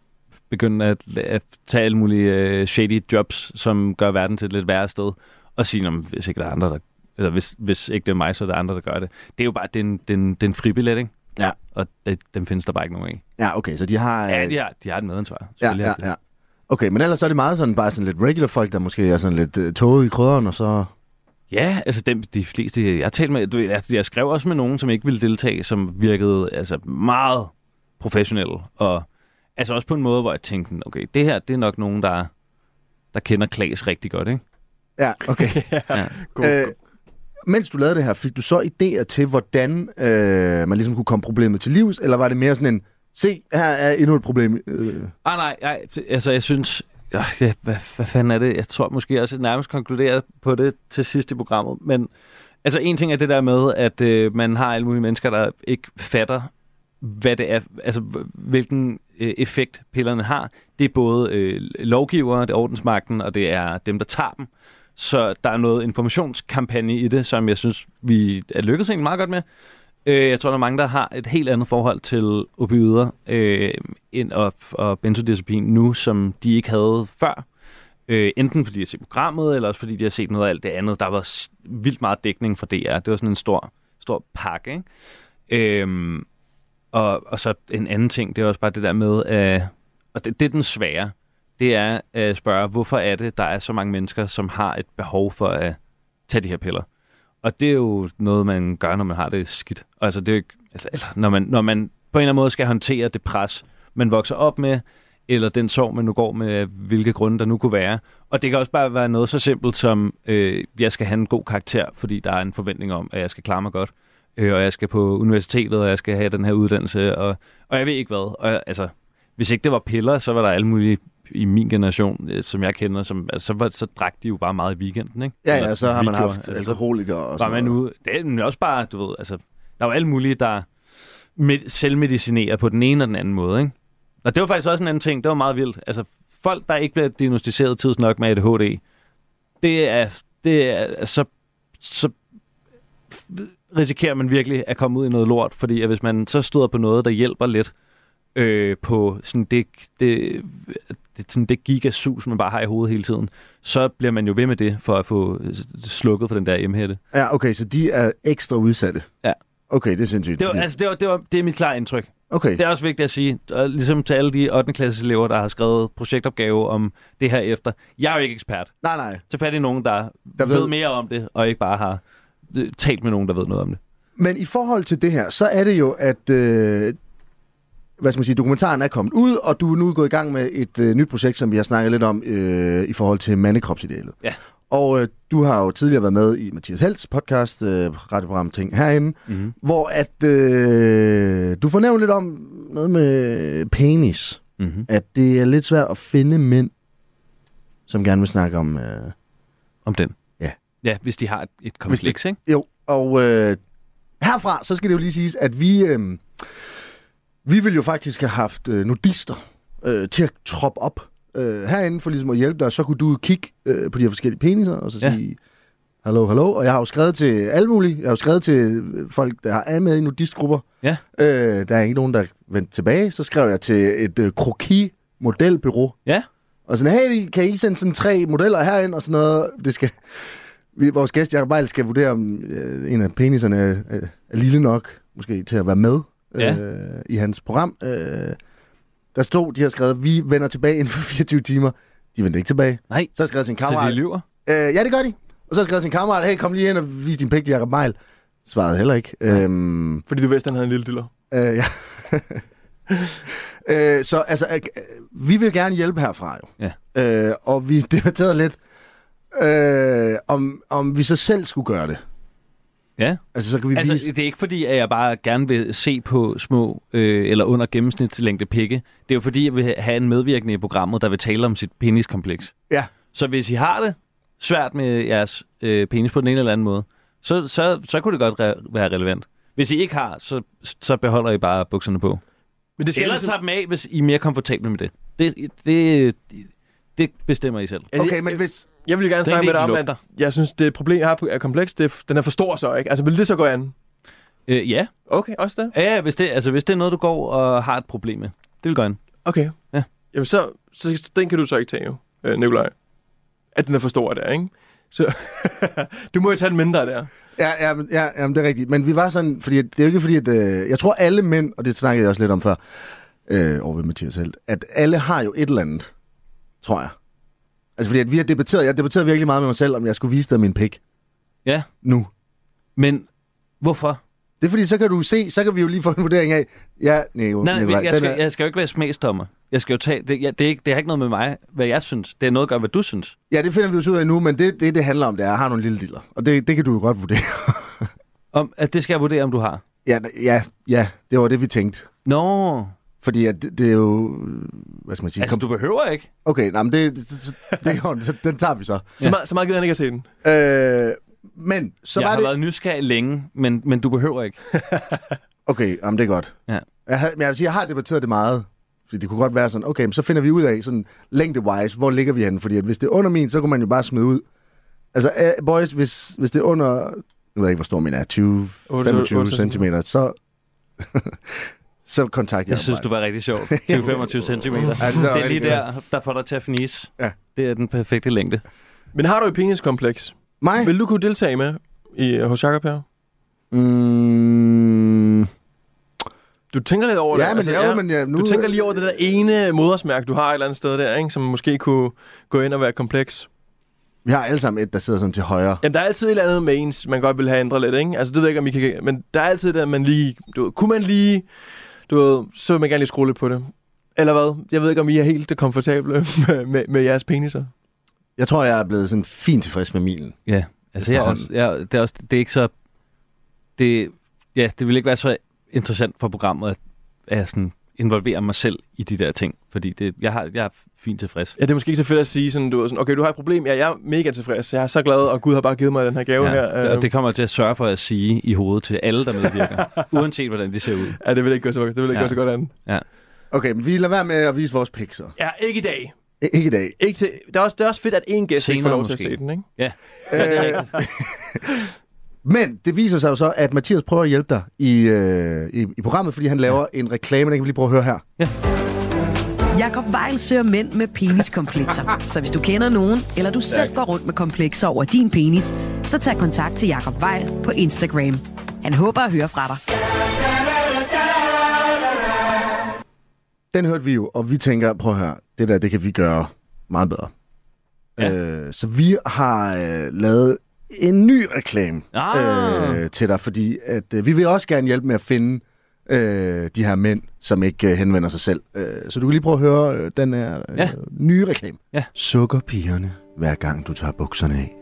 Speaker 5: begynde at, at tage alle mulige øh, shady jobs, som gør verden til et lidt værre sted, og sige, "Nå, men hvis ikke der er andre, der... Eller hvis, hvis ikke det er mig, så er der andre, der gør det. Det er jo bare den, den, den fribillet, ikke?
Speaker 2: Ja.
Speaker 5: Og det, den findes der bare ikke nogen af.
Speaker 2: Ja, okay, så de har... øh,
Speaker 5: Ja, de har, de har et medansvar.
Speaker 2: Ja,
Speaker 5: Selvfølgelig
Speaker 2: ja,
Speaker 5: har de det.
Speaker 2: ja. Okay, men ellers så er det meget sådan, bare sådan lidt regular folk, der måske er sådan lidt øh, tåget i krydderen, og så...
Speaker 5: Ja, altså dem, de fleste, jeg har talt med, du, ved, altså, jeg skrev også med nogen, som ikke ville deltage, som virkede altså, meget professionelle, og altså også på en måde, hvor jeg tænkte, okay, det her, det er nok nogen, der, der kender Klaas rigtig godt, ikke?
Speaker 2: Ja, okay.
Speaker 4: God,
Speaker 2: øh, mens du lavede det her, fik du så idéer til, hvordan øh, man ligesom kunne komme problemet til livs, eller var det mere sådan en, se, her er endnu et problem? Øh,
Speaker 5: Ah, nej, nej, altså jeg synes, øh, ja, hvad, hvad fanden er det? Jeg tror måske også, at jeg nærmest konkluderer på det til sidst i programmet, men altså en ting er det der med, at øh, man har alle mulige mennesker, der ikke fatter, hvad det er, altså hv- hvilken øh, effekt pillerne har. Det er både øh, lovgivere, det er ordensmagten, og det er dem, der tager dem. Så der er noget informationskampagne i det, som jeg synes, vi er lykkedes egentlig meget godt med. Øh, jeg tror, der er mange, der har et helt andet forhold til opioider øh, ind og, og benzodiazepin nu, som de ikke havde før. Øh, enten fordi de har set programmet, eller også fordi de har set noget af alt det andet. Der var s- vildt meget dækning fra DR. Det var sådan en stor, stor pakke. Ikke? Øhm, og, og så en anden ting, det er også bare det der med, øh, og det, det er den svære, det er at spørge, hvorfor er det, der er så mange mennesker, som har et behov for at tage de her piller? Og det er jo noget, man gør, når man har det skidt. Og Altså, det er jo ikke, altså, eller, når, man, når man på en eller anden måde skal håndtere det pres, man vokser op med, eller den sorg, man nu går med, hvilke grunde der nu kunne være. Og det kan også bare være noget så simpelt som, øh, jeg skal have en god karakter, fordi der er en forventning om, at jeg skal klare mig godt. Øh, og jeg skal på universitetet, og jeg skal have den her uddannelse, og, og jeg ved ikke hvad. Og, jeg- altså, hvis ikke det var piller, så var der alle mulige i min generation, øh, som jeg kender, som, altså, så, var, så drak de jo bare meget i weekenden. Ikke?
Speaker 2: ja, ja,
Speaker 5: Eller
Speaker 2: så har man
Speaker 5: videoer.
Speaker 2: haft
Speaker 5: Altså, så-
Speaker 2: alkoholikere og
Speaker 5: var
Speaker 2: sådan
Speaker 5: man
Speaker 2: noget.
Speaker 5: ude. Det er men også bare, du ved, altså, der var alle mulige, der med, selvmedicinerer på den ene og den anden måde, ikke? Og det var faktisk også en anden ting, det var meget vildt. Altså, folk, der ikke bliver diagnostiseret tids nok med ADHD, det er, det er så, så risikerer man virkelig at komme ud i noget lort, fordi at hvis man så støder på noget, der hjælper lidt øh, på sådan det, det, det, sådan det gigasus, man bare har i hovedet hele tiden, så bliver man jo ved med det for at få øh, slukket for den der emhætte.
Speaker 2: Ja, okay, så de er ekstra udsatte.
Speaker 5: Ja.
Speaker 2: Okay, det er sindssygt.
Speaker 5: Det, var,
Speaker 2: fordi-
Speaker 5: altså, det, var, det, var, det er mit klare indtryk.
Speaker 2: okay,
Speaker 5: Det er også vigtigt at sige, og ligesom til alle de 8. klasses elever, der har skrevet projektopgave om det her efter. Jeg er jo ikke ekspert.
Speaker 2: nej, nej.
Speaker 5: Så fat i nogen, der,
Speaker 2: Der
Speaker 5: der
Speaker 2: ved-
Speaker 5: ved... ved mere om det, og ikke bare har øh, talt med nogen, der ved noget om det.
Speaker 2: Men i forhold til det her, så er det jo, at øh, hvad skal man sige, dokumentaren er kommet ud, og du er nu gået i gang med et øh, nyt projekt, som vi har snakket lidt om øh, i forhold til mandekropsidealet.
Speaker 5: Ja.
Speaker 2: Og øh, du har jo tidligere været med i Mathias Helts podcast, øh, radioprogram Ting herinde, mm-hmm. hvor at øh, du fornævner lidt om noget med penis.
Speaker 5: Mhm.
Speaker 2: At det er lidt svært at finde mænd, som gerne vil snakke om... Øh,
Speaker 5: Om den.
Speaker 2: Ja.
Speaker 5: Ja, hvis de har et, et kompleks, ikke?
Speaker 2: jo, og øh, herfra, så skal det jo lige siges, at vi, øh, vi ville jo faktisk have haft øh, nudister øh, til at troppe op øh, herinde for ligesom at hjælpe dig. og Så kunne du kigge øh, på de her forskellige peniser og så ja.
Speaker 5: Ja.
Speaker 2: sige, hallo, hallo. Og jeg har jo skrevet til alle mulige. Jeg har jo skrevet til øh, folk, der har er med i nudistgrupper.
Speaker 5: Ja.
Speaker 2: Øh, der er ikke nogen, der vendte tilbage. Så skrev jeg til et øh, kroki-modelbyrå,
Speaker 5: Ja.
Speaker 2: og sådan, hey, kan I sende sådan tre modeller herind og sådan noget? Det skal... Vi, vores gæst, Jacob Ejl, skal vurdere, om øh, en af peniserne er, er, er lille nok, måske til at være med
Speaker 5: Ja.
Speaker 2: øh, i hans program. Øh, der stod, de har skrevet, vi vender tilbage inden for 24 timer. De vendte ikke tilbage.
Speaker 5: Nej.
Speaker 2: Så har jeg skrevet til en
Speaker 5: Så de
Speaker 2: kammerat.
Speaker 5: lyver.
Speaker 2: Øh, ja, det gør de. Og så har jeg skrevet til en kammerat, hey, kom lige ind og vis din pik til Jacob Ejl. Svarede heller ikke. Øhm, øh,
Speaker 4: Fordi du vidste, han havde en lille diller.
Speaker 2: ja. Øh, så altså, øh, vi vil gerne hjælpe herfra jo. Ja. Øh, og vi debatterede lidt, øh, om, om vi så selv skulle gøre det.
Speaker 5: Ja.
Speaker 2: Altså, så kan vi altså,
Speaker 5: Altså,
Speaker 2: vise...
Speaker 5: det er ikke fordi, at jeg bare gerne vil se på små øh, eller under gennemsnitslængde pikke. Det er jo fordi, jeg vil have en medvirkende i programmet, der vil tale om sit peniskompleks.
Speaker 2: Ja.
Speaker 5: Så hvis I har det svært med jeres øh, penis på den ene eller anden måde, så, så, så kunne det godt re- være relevant. Hvis I ikke har, så, så beholder I bare bukserne på.
Speaker 4: Men det skal
Speaker 5: Eller
Speaker 4: ligesom-
Speaker 5: tager dem af, hvis I er mere komfortable med det. Det, det, det bestemmer I selv.
Speaker 4: Altså,
Speaker 2: Okay,
Speaker 4: jeg-
Speaker 2: men hvis...
Speaker 4: Jeg vil gerne
Speaker 5: Den
Speaker 4: snakke med
Speaker 5: del
Speaker 4: dig om, at
Speaker 5: lugter.
Speaker 4: jeg synes, det problem, jeg har på- er komplekst. Det, er- den er for stor så, ikke? Altså, vil det så gå an?
Speaker 5: Øh, ja,
Speaker 4: Okay, også det.
Speaker 5: ja hvis, det, altså, hvis det er noget, du går og har et problem med. Det vil gøre en.
Speaker 4: Okay.
Speaker 5: Ja.
Speaker 4: Jamen, så, så den kan du så ikke tage, jo, øh, Nikolaj. At den er for stor der, ikke? Så du må jo tage den mindre der.
Speaker 2: Ja, ja, men- ja, ja, men det er rigtigt. Men vi var sådan, fordi det er jo ikke fordi, at... Øh, jeg tror alle mænd, og det snakkede jeg også lidt om før, øh, over ved Mathias Helt, at alle har jo et eller andet, tror jeg. Altså fordi at vi har debatteret, jeg debatterede virkelig meget med mig selv, om jeg skulle vise dig min pik
Speaker 5: Ja,
Speaker 2: nu.
Speaker 5: men hvorfor?
Speaker 2: Det er fordi, så kan du se, så kan vi jo lige få en vurdering af, ja, nej,
Speaker 5: Nej, nej,
Speaker 2: Nikolaj,
Speaker 5: jeg,
Speaker 2: den
Speaker 5: skal,
Speaker 2: er-
Speaker 5: jeg skal jo ikke være smagsdommer. Jeg skal jo tage, det, jeg, det, er ikke, det har ikke noget med mig, hvad jeg synes. Det er noget at gøre, hvad du synes.
Speaker 2: Ja, det finder vi jo så ud af nu, men det, det, det handler om, det er, at jeg har nogle lille diller. Og det, det kan du jo godt vurdere.
Speaker 5: Om, at det skal jeg vurdere, om du har.
Speaker 2: ja, ja, ja, det var det, vi tænkte.
Speaker 5: Nå,
Speaker 2: Fordi at det, det er jo... øh, Hvad skal man sige?
Speaker 5: altså
Speaker 2: Altså,
Speaker 5: du behøver ikke.
Speaker 2: Okay, nej, men det, det, det, det, er jo- så den tager vi så.
Speaker 4: Så, ja. meget, så meget gider han ikke at se den.
Speaker 2: Øh, men så
Speaker 5: Så jeg
Speaker 2: var
Speaker 5: har
Speaker 2: det...
Speaker 5: været nysgerrig længe, men, men du behøver ikke.
Speaker 2: Okay, jamen, det er godt.
Speaker 5: Ja.
Speaker 2: Jeg, havde, men jeg vil sige, jeg har debatteret det meget. Fordi det kunne godt være sådan, okay, men så finder vi ud af, sådan længde-wise, hvor ligger vi henne? Fordi at hvis det er under min, så kunne man jo bare smide ud. Altså, eh, boys, hvis, hvis det er under... Nu ved jeg ikke, hvor stor min er. 20,
Speaker 4: Otte-
Speaker 2: 25
Speaker 4: otte
Speaker 2: centimeter. Så, så kontakt jer.
Speaker 5: Jeg synes, du var rigtig sjov. 20-25 cm.
Speaker 2: Altså,
Speaker 5: Det er lige der, der får dig til at fnise.
Speaker 2: Ja.
Speaker 5: Det er den perfekte længde.
Speaker 4: Men har du et peniskompleks?
Speaker 2: Mig?
Speaker 4: Vil du kunne deltage med i, hos Jacob her?
Speaker 2: Mm,
Speaker 4: Du tænker lidt over det.
Speaker 2: ja, men, altså, ja, men ja, nu...
Speaker 4: Du tænker lige over det der ene modersmærke, du har et eller andet sted der, ikke? som måske kunne gå ind og være kompleks.
Speaker 2: Vi har alle sammen et, der sidder sådan til højre.
Speaker 4: Jamen, der er altid et eller andet med ens, man godt vil have ændret lidt, ikke? Altså, det ved jeg ikke, om I kan... Men der er altid det, at man lige... Du ved, kunne man lige... Du ved, så vil man gerne lige skrue lidt på det. Eller hvad? Jeg ved ikke, om I er helt komfortable med, med, med jeres peniser.
Speaker 2: Jeg tror, jeg er blevet sådan fint tilfreds med milen.
Speaker 5: Ja, altså jeg, er også, jeg, det, er også, det er ikke så... Det, ja, det vil ikke være så interessant for programmet, at, at jeg sådan involverer mig selv i de der ting. Fordi det, jeg, har, jeg er fint tilfreds.
Speaker 4: Ja, det er måske ikke så fedt at sige sådan, du ved, sådan, okay, du har et problem, ja, jeg er mega tilfreds, jeg er så glad, og Gud har bare givet mig den her gave
Speaker 5: Ja,
Speaker 4: her.
Speaker 5: det,
Speaker 4: Øh,
Speaker 5: og det kommer jeg til at sørge for at sige i hovedet til alle, der medvirker. uanset hvordan de ser ud.
Speaker 4: Ja, det vil ikke gå så, det vil ikke
Speaker 5: Ja.
Speaker 4: gå så godt an.
Speaker 2: Okay, men vi lader være med at vise vores pik, så.
Speaker 4: Ja, ikke i dag.
Speaker 2: I- Ikke i dag.
Speaker 4: Ikke til, det, er også, det er også fedt, at én gæst ikke får
Speaker 5: Senere
Speaker 4: lov til at
Speaker 5: måske.
Speaker 4: se den, ikke?
Speaker 2: Øh, Men det viser sig jo så, at Mathias prøver at hjælpe dig i, øh, i, i programmet, fordi han laver ja. en reklame, den kan vi lige prøve at høre her.
Speaker 3: Jakob Weil søger mænd med peniskomplekser. Så hvis du kender nogen, eller du selv går rundt med komplekser over din penis, så tag kontakt til Jakob Weil på Instagram. Han håber at høre fra dig.
Speaker 2: Den hørte vi jo, og vi tænker, prøv at høre, det der, det kan vi gøre meget bedre.
Speaker 5: Ja.
Speaker 2: Ja. Øh, så vi har øh, lavet en ny reklame
Speaker 5: Ah.
Speaker 2: øh, til dig, fordi at, øh, vi vil også gerne hjælpe med at finde øh, de her mænd, som ikke øh, henvender sig selv. Øh, så du kan lige prøve at høre øh, den her øh,
Speaker 5: Ja.
Speaker 2: ja. nye reklame.
Speaker 5: Ja.
Speaker 2: Sukker pigerne, hver gang du tager bukserne af.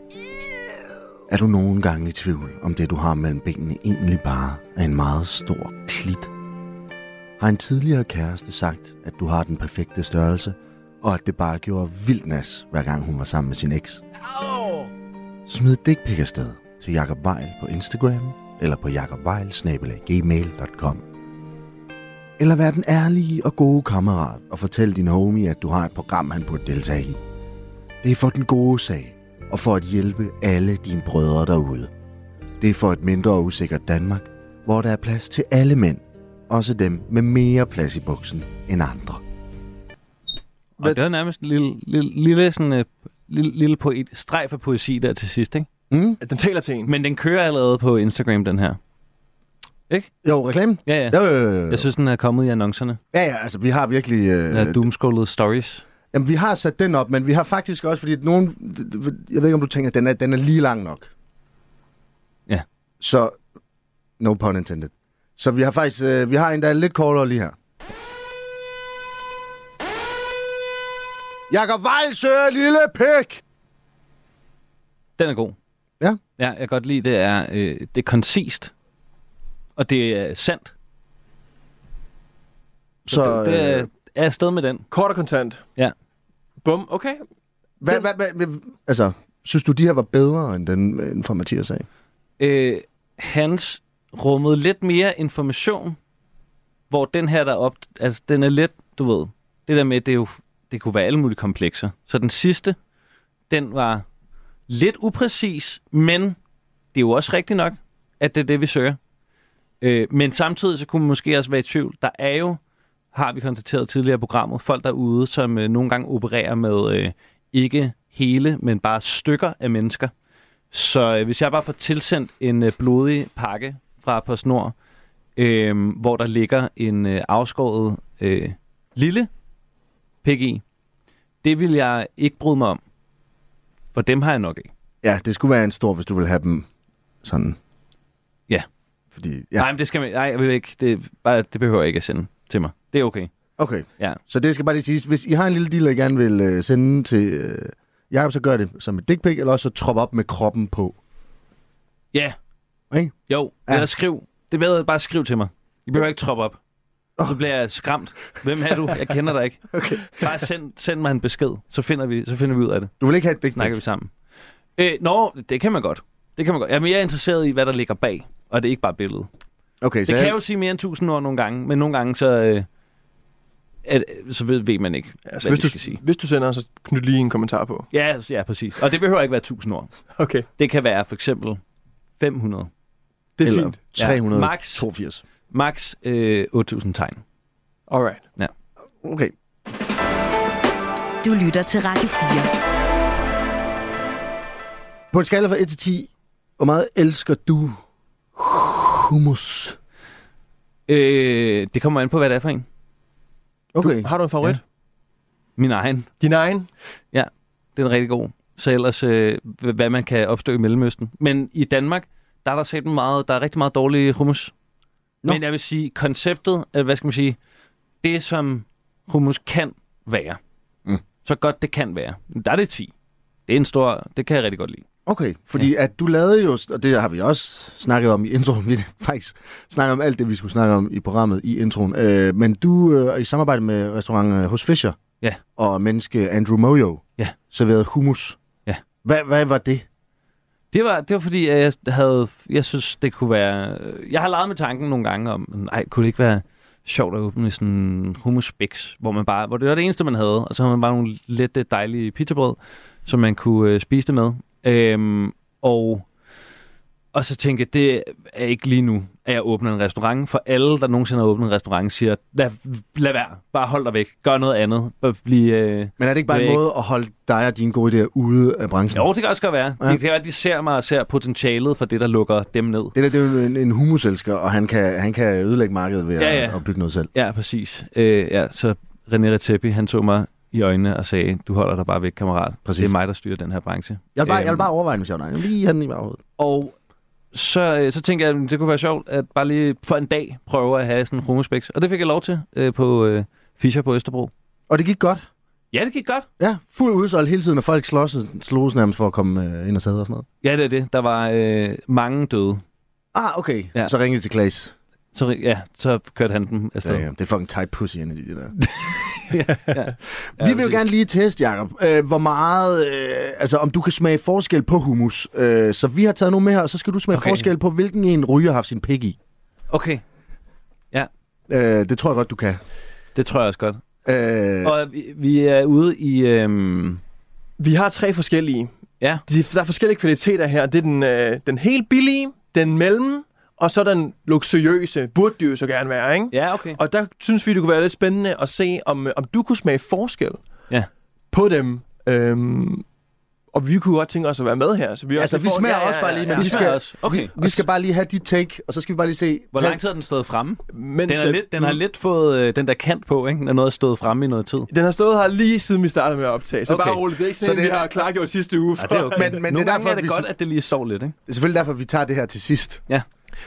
Speaker 2: Er du nogle gange i tvivl, om det du har mellem benene egentlig bare er en meget stor klit? Har en tidligere kæreste sagt, at du har den perfekte størrelse, og at det bare gjorde vildt nas, hver gang hun var sammen med sin eks? Smid dick pic afsted til Jakob Weil på Instagram eller på jakobvejl-gmail.com Eller vær den ærlige og gode kammerat og fortæl din homie, at du har et program, han burde deltage i. Det er for den gode sag, og for at hjælpe alle dine brødre derude. Det er for et mindre og usikkert Danmark, hvor der er plads til alle mænd, også dem med mere plads i buksen end andre.
Speaker 5: Og det var nærmest en lille, lille, lille, sådan, øh, lille, lille poet, streg for poesi der til sidst. Ikke?
Speaker 2: Mm?
Speaker 4: At Den taler til en.
Speaker 5: Men den kører allerede på Instagram, den her.
Speaker 2: Jo, reklamen?
Speaker 5: Ja, ja.
Speaker 2: Jo, jo, jo, jo.
Speaker 5: Jeg synes, den er kommet i annoncerne.
Speaker 2: Ja, ja, altså vi har virkelig... Øh,
Speaker 5: Ja, doomscrollede stories.
Speaker 2: Jamen, vi har sat den op, men vi har faktisk også, fordi at nogen... Jeg ved ikke, om du tænker, at den er, den er lige lang nok.
Speaker 5: Ja.
Speaker 2: Så, no pun intended. Så vi har faktisk, øh, vi har en, der er lidt kortere lige her. Jakob Vejlsø, lille pik!
Speaker 5: Den er god.
Speaker 2: Ja.
Speaker 5: Ja, jeg kan godt lide, det er, øh, det er koncist. Og det er sandt.
Speaker 2: Så
Speaker 5: det, det er,
Speaker 2: øh,
Speaker 5: er afsted med den.
Speaker 4: Kort og kontant.
Speaker 5: Ja.
Speaker 4: Bum, okay. Altså,
Speaker 2: hvad, hvad, hvad, hvad, altså, synes du, de her var bedre end den end fra Mathias sag?
Speaker 5: Øh, hans rummede lidt mere information, hvor den her, der er op... Altså, den er lidt, du ved... Det der med, det, er jo, det kunne være alle mulige komplekser. Så den sidste, den var lidt upræcis, men det er jo også rigtigt nok, at det er det, vi søger. Øh, men samtidig så kunne man måske også være i tvivl. Der er jo, har vi konstateret tidligere i programmet, folk derude, som øh, nogle gange opererer med øh, ikke hele, men bare stykker af mennesker. Så øh, hvis jeg bare får tilsendt en øh, blodig pakke fra PostNord, øh, hvor der ligger en øh, afskåret øh, lille pik i, det vil jeg ikke bryde mig om. For dem har jeg nok ikke.
Speaker 2: Ja, det skulle være en stor, hvis du vil have dem sådan.
Speaker 5: Ja.
Speaker 2: Fordi,
Speaker 5: Ja.
Speaker 2: ja,
Speaker 5: Nej, men det skal man, nej, jeg vil ikke. Det, bare, det behøver jeg ikke at sende til mig. Det er okay.
Speaker 2: okay.
Speaker 5: Ja.
Speaker 2: Så det skal bare lige siges. Hvis I har en lille dealer, I gerne vil øh, sende til øh, Jakob, så gør det som et dick pic, eller også så trop op med kroppen på.
Speaker 5: Ja.
Speaker 2: Ikke?
Speaker 5: Jo,
Speaker 2: Ja.
Speaker 5: ja. eller skriv. Det er bedre, bare skriv til mig. I behøver ikke troppe op. Så bliver jeg skræmt. Hvem er du? Jeg kender dig ikke. Okay. Bare send, send mig en besked, så finder, vi, så finder vi ud af det.
Speaker 2: Du vil ikke have et dick
Speaker 5: Snakker
Speaker 2: pic.
Speaker 5: vi sammen. Øh, nå, det kan man godt. Det kan man godt. Jamen, jeg er interesseret i, hvad der ligger bag, og det er ikke bare billedet.
Speaker 2: Okay, så
Speaker 5: Det kan
Speaker 2: jeg,
Speaker 5: jo sige mere end tusind ord nogle gange, men nogle gange så, øh, at, øh, så ved, ved man ikke, altså, hvad
Speaker 4: hvis,
Speaker 5: hvis det
Speaker 4: du,
Speaker 5: skal sige.
Speaker 4: hvis du sender, så knyt lige en kommentar på.
Speaker 5: Ja, altså, ja, præcis. Og det behøver ikke være tusind ord.
Speaker 4: Okay,
Speaker 5: Det kan være for eksempel 500.
Speaker 4: det er
Speaker 2: Eller-
Speaker 4: fint.
Speaker 2: 300.
Speaker 5: Ja, max,
Speaker 2: 82.
Speaker 5: max øh, 8.000 tegn.
Speaker 4: Alright.
Speaker 2: Okay.
Speaker 3: Du lytter til Radio 4.
Speaker 2: På en skala fra 1 til 10, hvor meget elsker du hummus?
Speaker 5: Øh, det kommer an på, hvad det er for en.
Speaker 2: Okay.
Speaker 4: Har du en favorit? Ja.
Speaker 5: Min egen.
Speaker 4: Din egen?
Speaker 5: Den er rigtig god. Så ellers, øh, h- hvad man kan opstå i Mellemøsten. Men i Danmark, der er der set meget, der er rigtig meget dårlig hummus.
Speaker 2: Nå.
Speaker 5: Nå. Men jeg vil sige, konceptet, øh, hvad skal man sige, det som hummus kan være.
Speaker 2: Mm.
Speaker 5: Så godt det kan være. Der er det 10. Det er en stor, det kan jeg rigtig godt lide.
Speaker 2: Okay, fordi ja. at du lavede jo, og det har vi også snakket om i introen, vi faktisk snakker om alt det, vi skulle snakke om i programmet i introen, øh, men du øh, i samarbejde med restaurant øh, hos Fischer
Speaker 5: Ja.
Speaker 2: og menneske Andrew Moyo
Speaker 5: Ja.
Speaker 2: serverede hummus.
Speaker 5: Ja.
Speaker 2: Hvad, hvad var det?
Speaker 5: Det var, det var fordi, at jeg havde, jeg synes, det kunne være, jeg har leget med tanken nogle gange om, nej, kunne det ikke være sjovt at åbne sådan en hummusbiks, hvor man bare, hvor det var det eneste, man havde, og så havde man bare nogle lette, dejlige pizzabrød, som man kunne øh, spise det med. Øhm, og, og så tænkte jeg, det er ikke lige nu, at jeg åbner en restaurant, for alle, der nogensinde har åbnet en restaurant, siger, lad, lad være, bare hold dig væk, gør noget andet, bare bliv, øh,
Speaker 2: Men er det ikke bare
Speaker 5: Det
Speaker 2: en
Speaker 5: er
Speaker 2: måde at holde dig og dine gode idéer ude af branchen?
Speaker 5: jo, det kan også godt være.
Speaker 2: Ja.
Speaker 5: Ja. Det kan være, at de ser mig og ser potentialet for det, der lukker dem ned.
Speaker 2: Det der, det er jo en, en hummuselsker, og han kan, han kan ødelægge markedet ved
Speaker 5: Ja,
Speaker 2: at,
Speaker 5: ja.
Speaker 2: at bygge noget selv.
Speaker 5: Ja, præcis. Øh, ja, så René Redzepi, han tog mig i øjnene og sagde, du holder dig bare væk, kammerat.
Speaker 2: Præcis.
Speaker 5: Det er mig, der styrer den her branche.
Speaker 2: Jeg vil bare,
Speaker 5: Øhm,
Speaker 2: jeg vil bare overveje, hvis jeg var dig. Jeg vil Lige have den i baghovedet.
Speaker 5: Og så, øh, så tænkte jeg, at det kunne være sjovt at bare lige for en dag prøve at have sådan en rummespeks. Og det fik jeg lov til øh, på øh, Fischer på Østerbro.
Speaker 2: Og det gik godt.
Speaker 5: Ja, det gik godt.
Speaker 2: Ja, fuld udsolgt hele tiden, og folk slås, slås nærmest for at komme øh, ind og sidde og sådan noget.
Speaker 5: Ja, det er det. Der var øh, mange døde.
Speaker 2: Ah, okay. Ja.
Speaker 5: Ja.
Speaker 2: Så ringede de til Klaas.
Speaker 5: Så, ri- ja, så kørte han dem afsted.
Speaker 2: Ja, ja. Det er fucking tight pussy, inde i det der.
Speaker 5: ja.
Speaker 2: Ja, Vi vil jo
Speaker 5: præcis.
Speaker 2: gerne lige teste, Jacob, øh, hvor meget, øh, altså om du kan smage forskel på hummus. Øh, så vi har taget nogle med her, og så skal du smage okay.
Speaker 5: Okay.
Speaker 2: forskel på, hvilken en ryger har haft sin pik i.
Speaker 5: Okay,
Speaker 2: Øh, det tror jeg godt, du kan.
Speaker 5: det tror jeg også godt.
Speaker 2: Øh,
Speaker 5: Og vi, vi er ude i... Øh,
Speaker 4: Vi har tre forskellige.
Speaker 5: Ja.
Speaker 4: De, der er forskellige kvaliteter her. Det er den, øh, den helt billige, den mellem, og så den luksuriøse. Burde det jo så gerne være, ikke?
Speaker 5: ja, okay.
Speaker 4: Og der synes vi, det kunne være lidt spændende at se, om, øh, om du kunne smage forskel
Speaker 5: Ja.
Speaker 4: på dem. Øhm, og vi kunne godt tænke os at være med her. Så vi
Speaker 2: altså,
Speaker 4: også
Speaker 2: vi smager også bare lige, men
Speaker 5: ja.
Speaker 2: vi
Speaker 5: Vi
Speaker 2: skal,
Speaker 5: smager også. Okay.
Speaker 2: vi, vi skal bare lige have dit take, og så skal vi bare lige se...
Speaker 5: Hvor lang tid har den stået fremme?
Speaker 4: men
Speaker 5: Den, er lidt,
Speaker 2: Mm.
Speaker 5: den har lidt fået øh, den der kant på, ikke? Den er noget at stået fremme i noget tid.
Speaker 4: Mm. Den har stået her lige siden vi startede med at optage, så okay.
Speaker 5: Okay.
Speaker 4: bare roligt. Det er ikke
Speaker 2: Så
Speaker 4: sådan, så
Speaker 2: det
Speaker 4: det vi
Speaker 2: er-
Speaker 4: har klargjort sidste uge.
Speaker 5: det er okay.
Speaker 2: Men, men
Speaker 5: Nogle
Speaker 2: det er
Speaker 5: gange
Speaker 2: derfor,
Speaker 5: er det
Speaker 2: vi,
Speaker 5: godt, at det lige står lidt, ikke?
Speaker 2: det er selvfølgelig derfor, vi tager det her til sidst.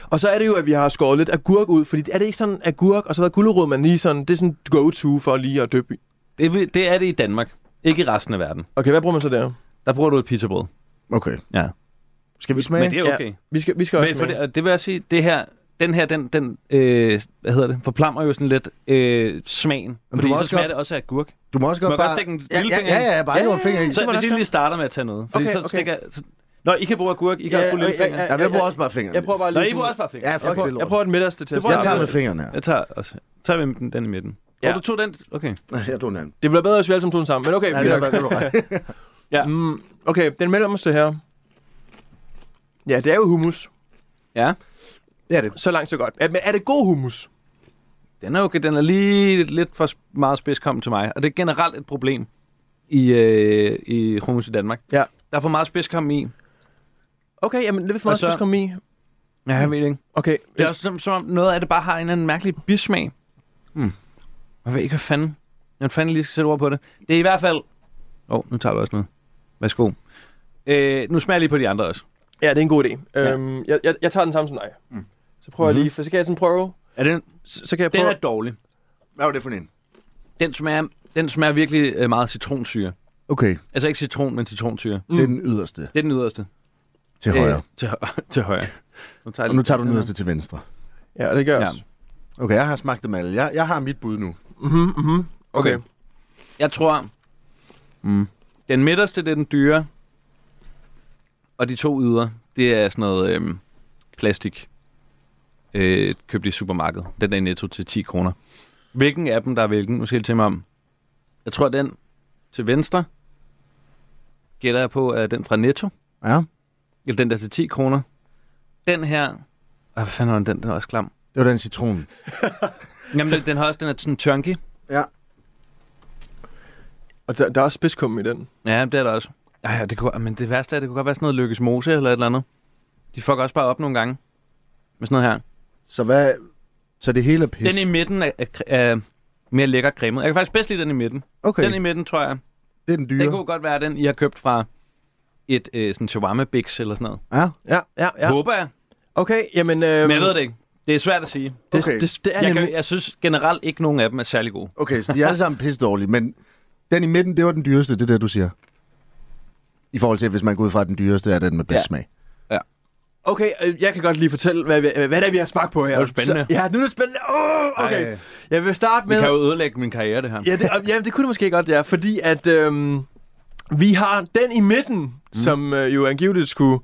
Speaker 4: Og så er det jo, at vi har skåret lidt agurk ud, fordi er det ikke sådan agurk, og så har gulerod, man lige sådan, det er sådan go-to for lige at døbe i.
Speaker 5: Det, er vi- det er det i Danmark. Ikke i resten af verden.
Speaker 4: Okay, hvad bruger man så der?
Speaker 5: Der bruger du et pizzabrød.
Speaker 2: Okay.
Speaker 5: Ja.
Speaker 2: Skal vi smage?
Speaker 5: Men det er okay. Ja.
Speaker 4: Vi skal, vi skal også
Speaker 5: Men for
Speaker 4: med.
Speaker 5: det, og det vil jeg sige, det her, den her, den, den øh, hvad hedder det, forplammer jo sådan lidt øh, smagen.
Speaker 2: må
Speaker 5: Fordi så
Speaker 2: også
Speaker 5: smager
Speaker 2: godt-
Speaker 5: det også af agurk.
Speaker 2: Du må også godt
Speaker 5: Må jeg
Speaker 2: bare...
Speaker 5: godt stikke en
Speaker 2: ja, ja,
Speaker 5: lillefinger
Speaker 2: ja, ja, bare
Speaker 4: Ja,
Speaker 2: ikke
Speaker 4: ja,
Speaker 2: ja, finger i.
Speaker 4: ja.
Speaker 5: Så
Speaker 4: må
Speaker 5: hvis
Speaker 4: det
Speaker 5: I
Speaker 4: også
Speaker 5: lige starter med at tage noget. Fordi
Speaker 4: Okay,
Speaker 5: så
Speaker 4: okay.
Speaker 5: stikker jeg... Så... Nå, I kan bruge agurk, I kan
Speaker 4: Ja,
Speaker 5: også bruge
Speaker 4: ja,
Speaker 5: lillefinger.
Speaker 4: ja, ligesom- ja.
Speaker 2: Ja, jeg bruger også bare fingrene.
Speaker 4: Jeg prøver bare
Speaker 5: Nå,
Speaker 4: lige...
Speaker 5: I bruger også bare fingre.
Speaker 2: Ja, fuck
Speaker 4: jeg, prøver,
Speaker 2: det lort.
Speaker 4: jeg prøver den midterste til at
Speaker 5: Det bruger
Speaker 2: Jeg tager
Speaker 4: starte
Speaker 2: med
Speaker 4: med.
Speaker 2: fingrene her.
Speaker 5: Jeg tager også. Tager vi den, den i midten?
Speaker 4: Ja.
Speaker 5: Ja. Og du tog den? Okay.
Speaker 2: Jeg tog en anden.
Speaker 4: Det bliver bedre, hvis vi alle sammen tog den sammen. Men okay,
Speaker 2: Ja,
Speaker 4: fint
Speaker 2: det er,
Speaker 4: nok.
Speaker 2: hvad du ret.
Speaker 4: Mm, okay, den mellemste her. Ja, det er jo hummus.
Speaker 5: Ja.
Speaker 2: Ja, det.
Speaker 4: Så langt, så godt. Er, men er det god hummus?
Speaker 5: Den er okay. Den er lige lidt, lidt for sp- meget spidskommet til mig. Og det er generelt et problem i, øh, i hummus i Danmark.
Speaker 4: Ja.
Speaker 5: Der er for meget spidskommet i.
Speaker 4: Okay, jamen det vil for
Speaker 5: Og
Speaker 4: meget
Speaker 5: så-
Speaker 4: spids komme i.
Speaker 5: Ja, jeg ved det ikke.
Speaker 4: Okay,
Speaker 5: Det er også som, som om noget af det bare har en eller anden mærkelig bismag. Mm. Jeg ved ikke, hvad fanden. Jeg fanden lige skal sætte ord på det. Det er i hvert fald... Åh, oh, nu tager du også noget. Værsgo. Øh, nu smager jeg lige på de andre også.
Speaker 4: ja, det er en god idé. Øhm, jeg, jeg, jeg tager den samme som dig. Så prøver
Speaker 5: Mhm.
Speaker 4: jeg lige, for så kan jeg sådan prøve.
Speaker 5: Er den,
Speaker 4: Så, så kan jeg
Speaker 5: den
Speaker 4: prøve...
Speaker 5: er dårlig.
Speaker 2: Hvad var det for en?
Speaker 5: Den smager, den smager virkelig øh, meget af citronsyre.
Speaker 2: Okay,
Speaker 5: Altså ikke citron, men citronsyre.
Speaker 2: det er den yderste
Speaker 5: Det er den yderste.
Speaker 2: til højre.
Speaker 5: Øh, til, hø- til højre. Nu tager
Speaker 2: Og nu tager du den
Speaker 5: her.
Speaker 2: yderste til venstre.
Speaker 4: Ja, det gør jeg
Speaker 5: Ja.
Speaker 4: også.
Speaker 2: Okay, jeg har smagt dem alle. Jeg, jeg har mit bud nu.
Speaker 4: Okay.
Speaker 5: Okay. Jeg tror, mm. den midterste, det er den dyre. Og de to ydre, det er sådan noget øhm, plastik. Øh, købt i supermarkedet. Den der i netto til 10 kroner. Hvilken af dem, der er hvilken? Nu skal jeg til mig om. Jeg tror, den til venstre, gætter jeg på, er den fra Netto.
Speaker 2: Ja,
Speaker 5: Eller den der til 10 kroner. Den her... Ah, hvad fanden var den? Den er også klam.
Speaker 2: det var den citron.
Speaker 5: Jamen, den, den har også den er sådan chunky.
Speaker 2: Ja.
Speaker 4: Og der, der er også spidskum i den.
Speaker 5: Ja, det er der også. Ej, ja, det kunne, men det værste er, det kunne godt være sådan noget Lykkes Mose eller et eller andet. De fucker også bare op nogle gange med sådan noget her.
Speaker 2: Så hvad... Så det hele er pis.
Speaker 5: Den i midten er, er, er mere lækker cremet. Jeg kan faktisk bedst lide den i midten.
Speaker 2: okay,
Speaker 5: Den i midten, tror jeg.
Speaker 2: det er den dyre.
Speaker 5: Det kunne godt være den, I har købt fra et øh, sådan shawarma bix eller sådan noget.
Speaker 2: Ja,
Speaker 4: Ja, ja,
Speaker 5: Ja.
Speaker 4: ja.
Speaker 5: Håber jeg.
Speaker 4: Okay, jamen... Øhm,
Speaker 5: Men jeg ved det ikke. Det er svært at sige.
Speaker 4: Det,
Speaker 2: Okay.
Speaker 4: det, det, det er
Speaker 5: Jeg,
Speaker 4: nemlig...
Speaker 5: kan, jeg synes generelt ikke, nogen af dem er særlig gode.
Speaker 2: okay, så de er alle sammen pis dårlige, men den i midten, det var den dyreste, det er det, du siger. I forhold til, hvis man går ud fra, at den dyreste er den med bedst
Speaker 5: Ja.
Speaker 2: smag.
Speaker 4: Okay, øh, jeg kan godt lige fortælle, hvad, vi, hvad det er, vi har smagt på her.
Speaker 5: Det er jo spændende.
Speaker 4: Så, ja, nu er det spændende. Oh, okay.
Speaker 5: Ej.
Speaker 4: Jeg vil starte
Speaker 5: Det
Speaker 4: med...
Speaker 5: kan jo ødelægge min karriere, det her.
Speaker 4: Ja, det, og- ja, det kunne det måske godt, ja. Fordi at øhm, vi har den i midten, mm. som øh, jo angiveligt skulle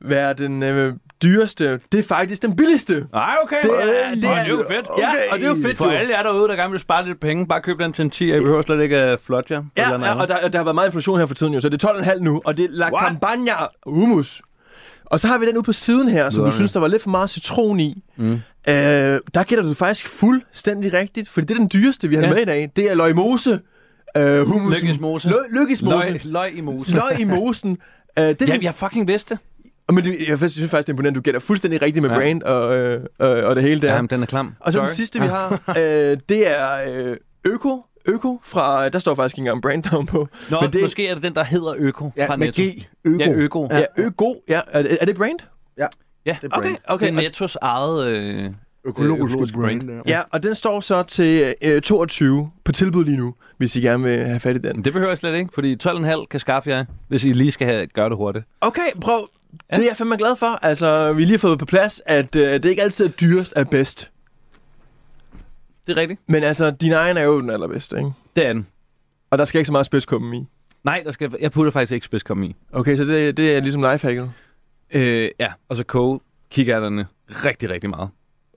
Speaker 4: være den øh, dyreste. Det er faktisk den billigste.
Speaker 5: Nej, okay.
Speaker 4: Det
Speaker 5: Det
Speaker 4: er-
Speaker 5: er,
Speaker 4: det
Speaker 5: det
Speaker 4: er-
Speaker 5: er, det er jo fedt.
Speaker 4: Ja, og det er jo fedt,
Speaker 5: For
Speaker 4: jo.
Speaker 5: alle jer derude, der gerne vil spare lidt penge, bare køb den til en 10. Jeg behøver slet ikke uh, flotja.
Speaker 4: Ja,
Speaker 5: eller noget
Speaker 4: ja og
Speaker 5: andet.
Speaker 4: der, der har været meget inflation her for tiden jo, så det er 12,5 nu, og det er La
Speaker 5: What?
Speaker 4: Campagna Humus. Og så har vi den ude på siden her, som du
Speaker 5: Vidunderligt.
Speaker 4: synes, der var lidt for meget citron i. Mm. Øh, der gætter du faktisk fuldstændig rigtigt, fordi det er den dyreste, vi har
Speaker 5: Ja.
Speaker 4: med i dag. Det er løg mose. Øh, humusen.
Speaker 5: Lykkes mose.
Speaker 4: Løg, lykkes mose.
Speaker 5: løg, løg i mosen.
Speaker 4: Løg i mosen. Øh, det er den
Speaker 5: Jamen, jeg fucking vidste det.
Speaker 4: Men det, jeg synes faktisk, det er imponerende. Du gætter fuldstændig rigtigt med ja.
Speaker 5: Ja.
Speaker 4: brand og, øh, øh, og det hele der.
Speaker 5: Jamen, den er klam.
Speaker 4: og så den sidste, vi har, øh, det er øh, Øko. Øko fra... Der står faktisk ikke engang branddown på.
Speaker 5: Nå,
Speaker 4: men det,
Speaker 5: måske er det den, der hedder Øko
Speaker 2: Ja,
Speaker 5: fra
Speaker 2: med
Speaker 5: Netto.
Speaker 2: G. Øko.
Speaker 5: Ja, Øko.
Speaker 4: Ja, Øko. Ja, er, det- er det brand?
Speaker 5: Ja,
Speaker 2: Det er
Speaker 4: Okay,
Speaker 2: brand.
Speaker 4: okay.
Speaker 5: det er Nettos eget... Øh...
Speaker 2: Økologisk
Speaker 5: Økologisk
Speaker 2: brand.
Speaker 5: brand.
Speaker 2: ja.
Speaker 4: Ja, og den står så til øh, 22 på tilbud lige nu, hvis I gerne vil have fat i den.
Speaker 5: Det behøver jeg slet ikke, fordi 12,5 kan skaffe jer, hvis I lige skal have, gøre det hurtigt.
Speaker 4: Okay, prøv. Det er jeg fandme glad for. Altså, vi har lige fået på plads, at øh, det ikke altid er dyrest er bedst.
Speaker 5: Det er rigtigt.
Speaker 4: Men altså, din egen er jo den allerbedste, ikke?
Speaker 5: Det er den.
Speaker 4: Og der skal ikke så meget spidskummen i.
Speaker 5: Nej, der skal, jeg putter faktisk ikke spidskommen i.
Speaker 4: Okay, så det, det er ligesom lifehacket.
Speaker 5: Øh, ja, og så koge kikærterne rigtig, rigtig meget.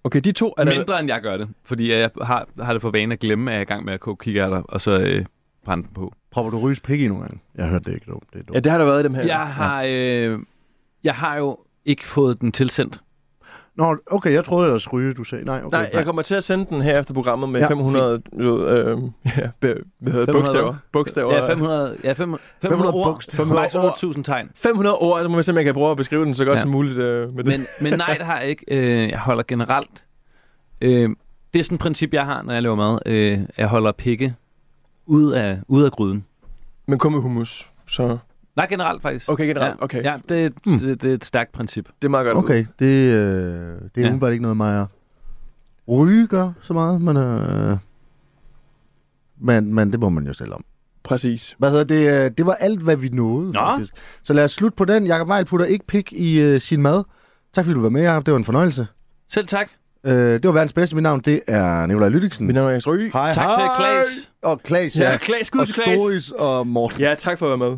Speaker 4: Okay, de to er der...
Speaker 5: Mindre end jeg gør det, fordi jeg har, har det for vane at glemme, at jeg er i gang med at koge kikærter, og så øh, brænde dem på.
Speaker 2: Propper du ryges pik i nogle gange? Jeg hørte det ikke, dog. Det er dumt.
Speaker 4: Ja, det har der været i dem her.
Speaker 5: Jeg har, øh, jeg har jo ikke fået den tilsendt.
Speaker 2: Nå, okay, jeg troede ellers ryge, du sagde. Nej, okay.
Speaker 4: Nej, jeg kommer til at sende den her efter programmet med ja,
Speaker 2: Ja,
Speaker 4: 500 du ved, øh, ja, be, hvad hedder det,
Speaker 5: 500
Speaker 4: bogstaver. bogstaver.
Speaker 5: Ja, 500, ja, 500, 500,
Speaker 2: 500
Speaker 5: ord.
Speaker 2: bogstaver.
Speaker 4: Ord.
Speaker 5: 500 ord. 500.000 tegn.
Speaker 4: 500 ord, så må jeg se, om jeg kan prøve at beskrive den så godt ja.
Speaker 5: Ja.
Speaker 4: som muligt øh, med det.
Speaker 5: Men, men nej, det har jeg ikke. Øh, jeg holder generelt. Øh, det er sådan et princip, jeg har, når jeg laver mad. Øh, jeg holder pikke ud af, ud af gryden.
Speaker 4: Men kun med hummus. Så
Speaker 5: Nej, generelt faktisk.
Speaker 4: Okay, generelt, okay. Hmm.
Speaker 5: Ja, det, det, det er et stærkt princip.
Speaker 4: det er meget godt.
Speaker 2: Okay, det, øh, det er
Speaker 5: Ja.
Speaker 2: ja. umiddelbart ikke noget, mig ryge gør så meget, men, øh, men, men det må man jo stille om.
Speaker 4: Præcis.
Speaker 2: Hvad hedder det? Øh, Det var alt, hvad vi nåede, Nå. faktisk. Så lad os slutte på den. Jakob Weil putter ikke pik i øh, sin mad. Tak fordi du var med, Jacob. Det var en fornøjelse.
Speaker 5: Selv tak.
Speaker 2: Øh, det var verdens bedste. Mit navn, det er Nikolaj Lydiksen.
Speaker 4: Mit navn er Jens Ryge.
Speaker 2: Hej,
Speaker 5: Tak til Klaas.
Speaker 2: Og Klaas, ja.
Speaker 4: Ja, Klaas, skud
Speaker 2: og
Speaker 4: til Klaas.
Speaker 2: Storis og Morten.
Speaker 4: Ja, tak for at være med.